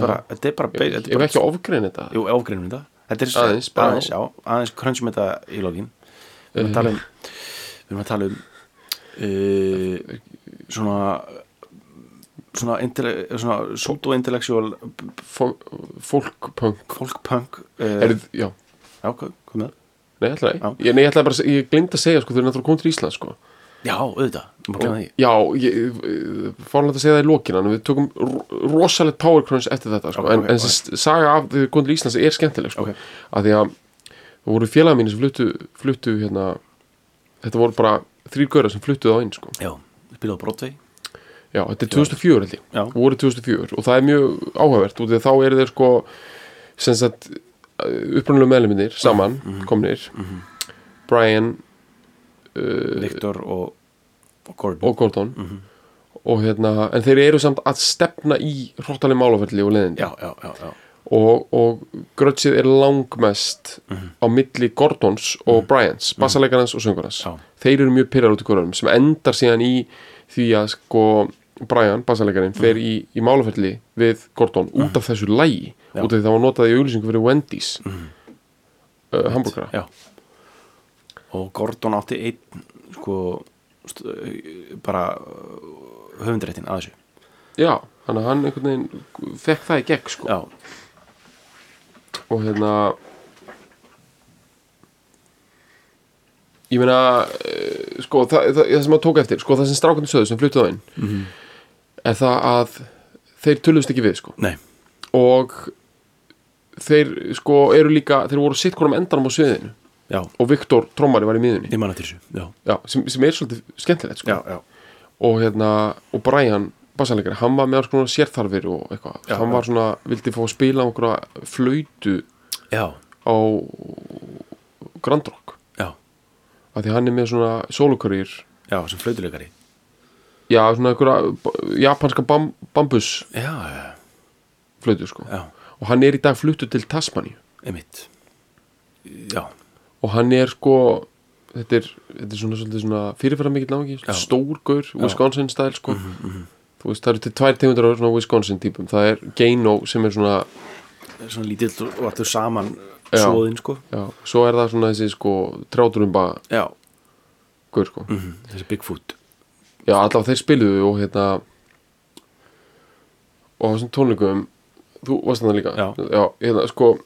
Já. er bara Þetta er bara ef þetta er bara- ekki ofgrein þetta Jú, ofgreinum þetta Þetta er Aðeins, bara- aðeins, já, aðeins crunchum þetta í lokin Við erum að tala um Við erum að tala um uh, Svona Svona, inter, svona pseudo-intellectual Fó- fólkpunk fólkpunk uh, er, já, Já, hvað, hvað með það? Nei, ætlaði, Já. ég, nei, ég ætlaði bara, að se- ég glind að segja sko, þau eru náttúrulega komið til Ísland sko. Já, auðvitað, maður glemði því Já, ég, fórlega að segja það í lokina en við tökum ro- rosalegt power crunch eftir þetta, sko, Ok, en, ok, okay, en okay. saga af þau komið til Íslands er skemmtileg, sko Ok. að því að það voru félagar mínir sem fluttu, fluttu hérna, þetta voru bara þrýr gaurar sem fluttuðu á inn, sko Já, spilaðu Broadway Já, þetta er 2004 held Já. ég, voru 2004 og það er mjög áhævert út af því að þá eru þeir sko sem sagt uh, upprunalega Mm-hmm. meðluminir saman komnir Brian Viktor og, og Gordon Eh. og Gordon og hérna, en þeir eru samt að stefna í hróttaleg málaferli og leðindi Já, já, já, já og, og grötsið er langmest á milli Gordons og Bryans, bassalegarans og söngurans Mhm. Já. þeir eru mjög pyrrar út í hverjum sem endar síðan í því að sko Brian, bassalegarinn, fer Mhm. í, í málaferli við Gordon út af þessu lægi Já. út Mhm. af því það var notað í auglýsingu fyrir Wendy's uh, hamburgara Já Og Gordon átti einn sko st- bara uh, höfundréttin að þessu Já, þannig að hann einhvern veginn fekk það í gegn sko Já, og hérna ég meina eh, sko, það, það, það sem maður tók eftir sko, það sem strákandi sögðu sem fluttuð á inn Mhm. er það að þeir töluðust ekki við sko nei, og þeir sko eru líka, þeir voru sitt konum endanum á sviðinu já, og Viktor Trommari var í miðunni ég man eftir þessu Já, Já, sem, sem er svolítið skemmtilegt sko já, já, og hérna, og Brian bassalegari, hann var með alls konar sérþarfir og eitthvað, Já, hann já. var svona vildi fá að spila á einhverja flöytu já, á Grand Rock já, af því hann er með svona solokurýr já sem flautuleikari já, svona einhverja b- japanska bam, bambusflötu Já, já, sko já, og hann er í dag fluttu til Tasmaníu einmitt Já, og hann er sko þetta er, þetta er svona, svolítið svona fyrirfæra mikill náðingi, Já. Mhm, stórgur Wisconsin stæl sko þú veist, það eru til tvær tegundur af svona Wisconsin típum það er Gaino sem er svona svona lítill og vartur saman Já. svoðinn sko já, svo er það svona þessi sko tráturumba Já, gaur sko Mhm. þessi Bigfoot Já, allavega þeir spiluðu og hérna og á þessum tónleikum þú varst þannig líka Já. hérna, sko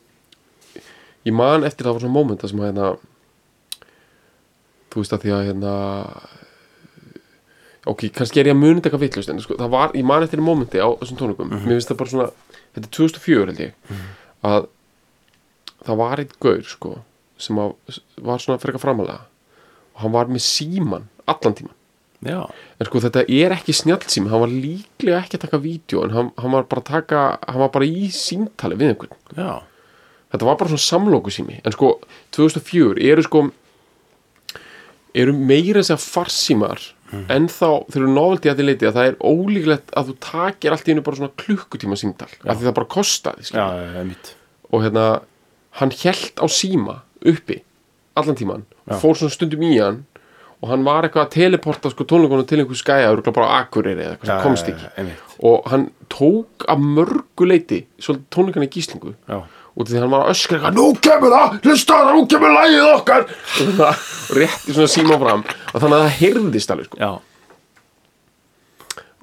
ég man eftir það var svona mómenta sem að hérna þú veist að því að hérna ok, kannski er ég að muni þetta eitthvað vitlaust en sko, það var, ég man eftir í mómenti á þessum tónleikum mér finnst það bara svona, þetta er 2004 held ég að það var eitt gaur sko sem að, var svona frekar framalega og hann var með síman allan tíman Já, En sko þetta er ekki snjallsím, hann var líklega ekki að taka vídeo en hann, hann var bara að taka, hann var bara í símtali við einhvern. já, Þetta var bara svona samlókusími, en sko 2004 eru sko, eru meira þess að farsímar en þá þeir eru noveldi að því leiti að það er ólíklegt að þú takir allt í einu bara svona klukkutíma símtal, af því það bara kostaði, já, skilja. einmitt Og hérna, hann held á síma uppi allan tíman, Já. fór svona stundum í hann og hann var eitthvað að teleporta sko tónleikunum til einhver skæja, örugglega bara á akureyri eða eitthvað sem komst ekki Einmitt, og hann tók af mörgu leiti svolítið tónleikana í gíslingu já, út af því að hann var að öskra eitthvað nú kemur það, hlusta það, nú kemur lagið okkar og það rétti svona síma fram og þannig að það heyrðist alveg sko. já,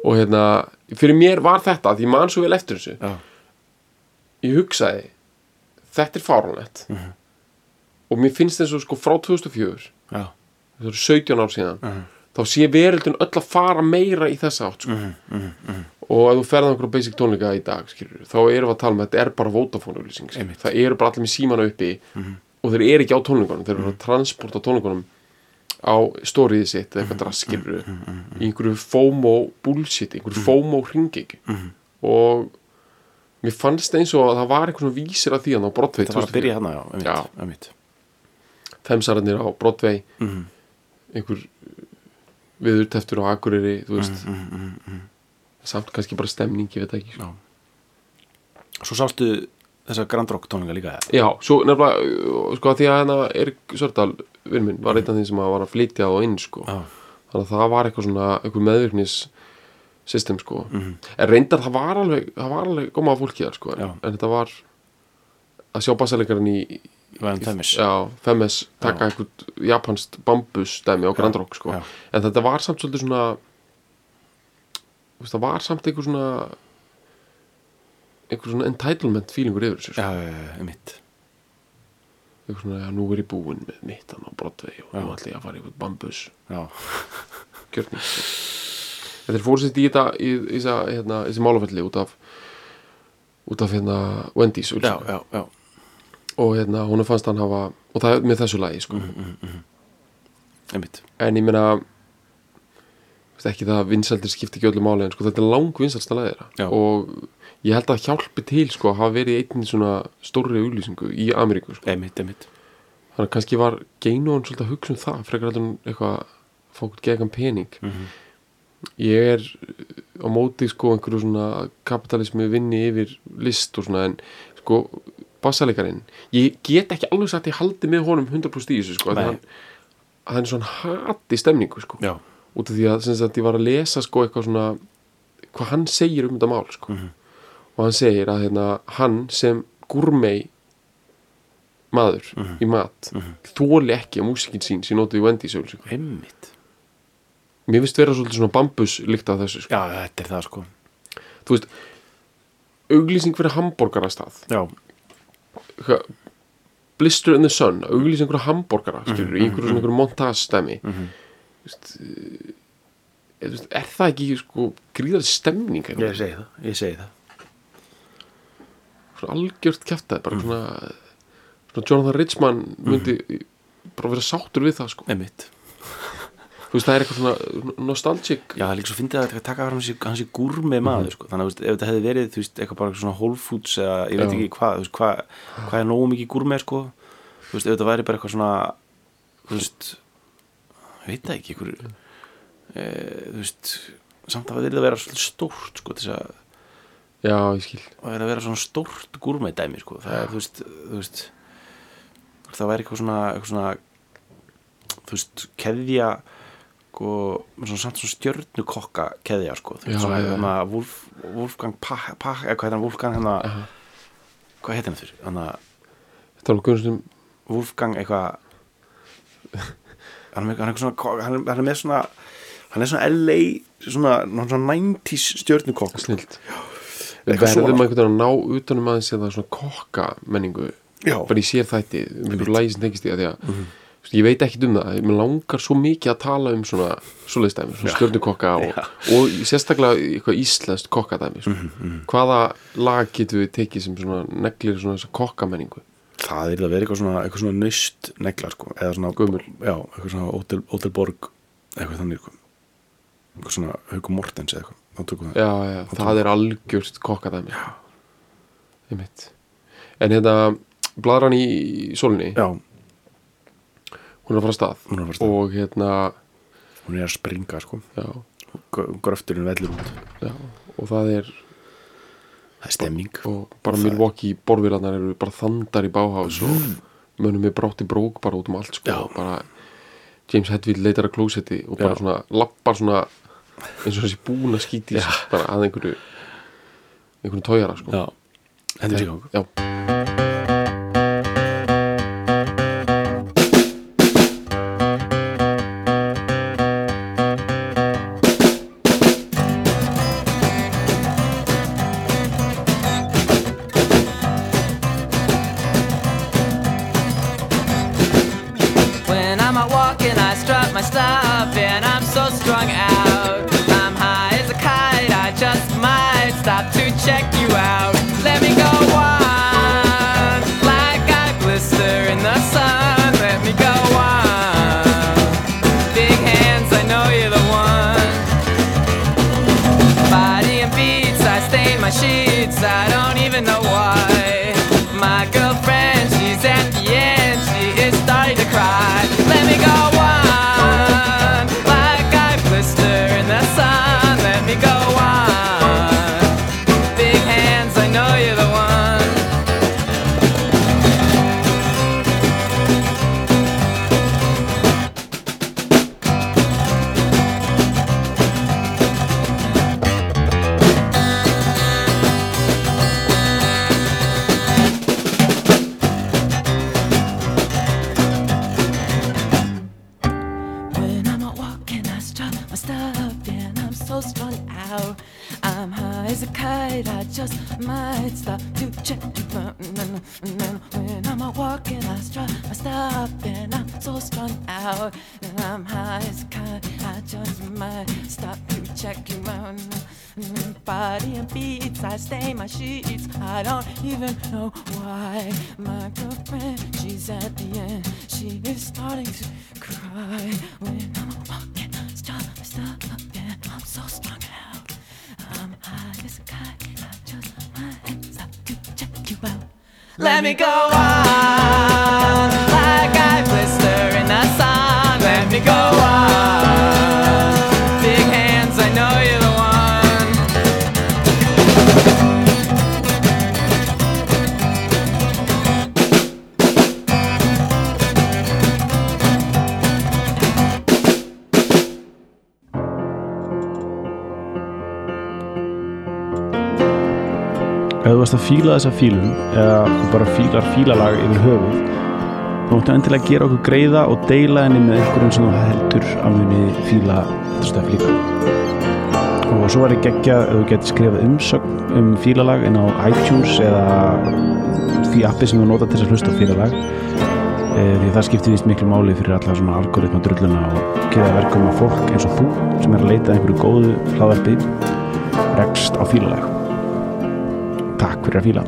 og hérna, fyrir mér var þetta því ég man svo vel eftir þessu já, ég hugsaði, þetta er fáránlegt Mhm. og mér finnst eins og sko frá 2004 já, það eru 17 ár síðan Mhm. þá sé veröldin öll að fara meira í þessa átt sko. Mhm, og ef þú ferð á einhverja basic tónleika í dag skilur, þá erum við að tala með að þetta er bara Vodafone auglýsing, skilur. Einmitt. Mhm. það eru bara allir með símana uppi og þeir eru ekki á tónleikunum þeir eru að transporta tónleikunum á stóriðið sitt Mhm, eða eitthvað draskilur í einhverju FOMO bullshit, einhverju Mhm. FOMO hringig og mér fannst eins og að það var einhvern vísir að því að það á brottveit það var að byrja hana, já, einmitt, Já. einmitt femsararnir á Broadway Mhm. einhver uh, viðurteftur á Akureyri þú veist Mhm, samt kannski bara stemning, ég veit það ekki sko. Já. Svo sástu þessa Grand Rock tónlinga líka eða? já, svo nefnilega uh, sko að því að hérna Erik Sördal vinn minn var einn af því sem að var að flytja á inn sko, Já, þannig að það var eitthvað svona einhver meðvirknis system sko, en reyndar það var alveg, það var alveg góma fólki þar sko en, Mhm. Já. en þetta var að sjá bassalegarinn í Væðan Þemis já, Femmes taka eitthvað japanskt bambus dæmi á Grand Rock sko. já. en þetta var samt svolítið svona þú veist, það var samt einhver svona einhver svona entitlement feelingur yfir þessu sko. já, einmitt Þú eitthvað svona, já, nú er ég búinn með mittan á Broadway og nú ætla ég að fara í einhvern bambus já, gjörning sko. þetta er fórsett í þetta í, í, þessa, hérna, þessi málafelli út af út af hérna Wendy's já, auglýsingu. já, já. og hérna hún fannst hann hafa og það er með þessu lagi Mhm. sko. einmitt en ég meina veist, ekki það að vinsaldir skipti ekki öllu máli en sko, þetta er lang vinsalsta lagi Já. þeirra og ég held að hjálpi til sko, að hafa verið í einni svona stórri auglýsingu í Ameríku sko. einmitt, einmitt þannig að kannski var geinóan svolítið að hugsa um það frekar heldur en eitthvað að fá okkur gegan pening Mhm. ég er uh, á móti sko einhverju svona kapitalismi vinni yfir list og svona en sko bassalekarinn ég get ekki alveg sagt að ég haldi með honum 100% í þessu sko af því Nei. hann, að hann er svona hati stemningu sko já, út af því að sem sagt, ég var að lesa sko eitthvað svona hvað hann segir um þetta mál sko. og hann segir að hérna, hann sem gurmei maður í mat þóli ekki að músikin sín sé notuð í Wendy's öll, sko. einmitt mér finnst vera svolítið svona bambus líkt af þessu sko. já, þetta er það sko þú veist auglýsing fyrir hambúrgarastað já, Hvað- Blister in the Sun auglýsing fyrir hambúrgara skilur, í einhverju svona einhverju montagstæmi mm -hmm. veist, eh, þú veist, er það ekki sko, gríðar stemning einhvern ég segi það, ég segi það svona algjört kjæftæði bara svona, svona Jonathan Richman myndi Mhm. bara vera sáttur við það sko. einmitt þú veist það er eitthvað svona nostalgic Já, það er líka svo fyndið að þetta taka fram hans, í- hans í gúrmi maður, sko. Þannig að þú veist, ef þetta hefði verið, þú veist, eitthvað bara svona Whole Foods eða ég veit Já. ekki hvað, þú veist, hvað, hvað er nógu mikið gúrmi, sko. Þú veist, ef þetta væri bara eitthvað svona, þú veist, ég veit það ekki, einhver, e, þú veist, samt að það verið að vera svolítið stórt, sko, til þess að, já ég skil að vera að vera svona stórt gúrmædæmi sko. það er, þú veist, þú veist það væri eitthvað svona, eitthvað svona þú veist, keðja sko, með svona samt svona stjörnukokka keðja, sko, þú Já, veist, svona já, já. hana, Wolf, Wolfgang Pach, Pach eða hvað heitir hann, Wolfgang hana hvað heitir hann þurr, hann að þetta var guðnustum Wolfgang eitthvað hann er, með- hann er, eitthvað svona, hann er, hann er með svona hann er svona LA svona, svona 90s stjörnukokk sko. snilt við Eitthvað svona, verðum sko. einhvern veginn að ná utanum aðeins eða svona kokka menningu Já. Mhm. bara í sér þætti um einhverju lægi sem tekist í að því að þú veist, ég veit ekkit um það, mér langar svo mikið að tala um svona svoleiðstæmi, svona stjörnukokka og, og sérstaklega eitthvað íslenskt kokkadæmi Mhm, sko. hvaða lag getum við tekið sem svona neglir svona þessa kokkamenningu það er að vera eitthvað svona, eitthvað svona nöst neglar sko, eða svona Gömul. já, eitthvað svona Ótel- Ótelborg eitthvað þannig sko. eitthvað svona Hauku Mortens eða eitthvað þá tökum við það já, já, það er algjört kokkadæmi einmitt en hérna, bladran í sólni, já, hún er að fara að stað Hún er að fara af stað. og hérna hún er að springa sko já, Gr- gröfturinn vellur út já, og það er það er stemming og bara Milwaukee borðvílarnar eru bara þandar í báhás og mönnum er brátt í brók bara út um allt sko, Já. og bara James Hetfield leitar að klósetti og bara Já. svona lappar svona eins og þessi búin að skíti sig bara að einhverju einhverju tójara sko já, hendur sig í gang Já. When I'm out walking, I strut my stuff, and I'm so strung out. I'm high as a kite, I just might stop to check you out. Let me go on, like I blister in the sun. Let me go on. Big hands, I know you're the one. Body and beats, I stain my sheets, I don't even know why. My girlfriend, she's at the end, she is starting to cry. Let me go on, like I blister in the sun. Let me go on. Big hands, I know you're the one. might stop to check you out. And then- and then when I'm out walking, I strut my stuff, and I'm so strung out. And I'm high as a kite. I just might stop to check you out. And then Body and beats, I stain my sheets. I don't even know why. My girlfriend, she's at the end. She is starting to cry when I'm out walking. I strut my stuff, and I'm so strung out. I'm high as a kite. I just might stop to check you out. Let me go on like I blister in the sun. Let me go on. Big hands, I know you're the one. Ef þú varst að fíla þessa fílum eða þú bara fílar fílalag yfir höfuð þá máttu endilega gera okkur greiða og deila henni með einhverjum sem þú heldur að muni fíla þetta stöf líka og svo er ég geggjað ef þú getur skrifað umsögn um fílalag inn á iTunes eða því appi sem þú nota til þess að hlusta á fílalag Eh, því að það skiptir víst miklu máli fyrir alla svona algoritma drulluna og geða verkum að fólk eins og þú sem er að leita að einhverju góðu hlaðarpi rekst á fílalag Takk fyrir að fíla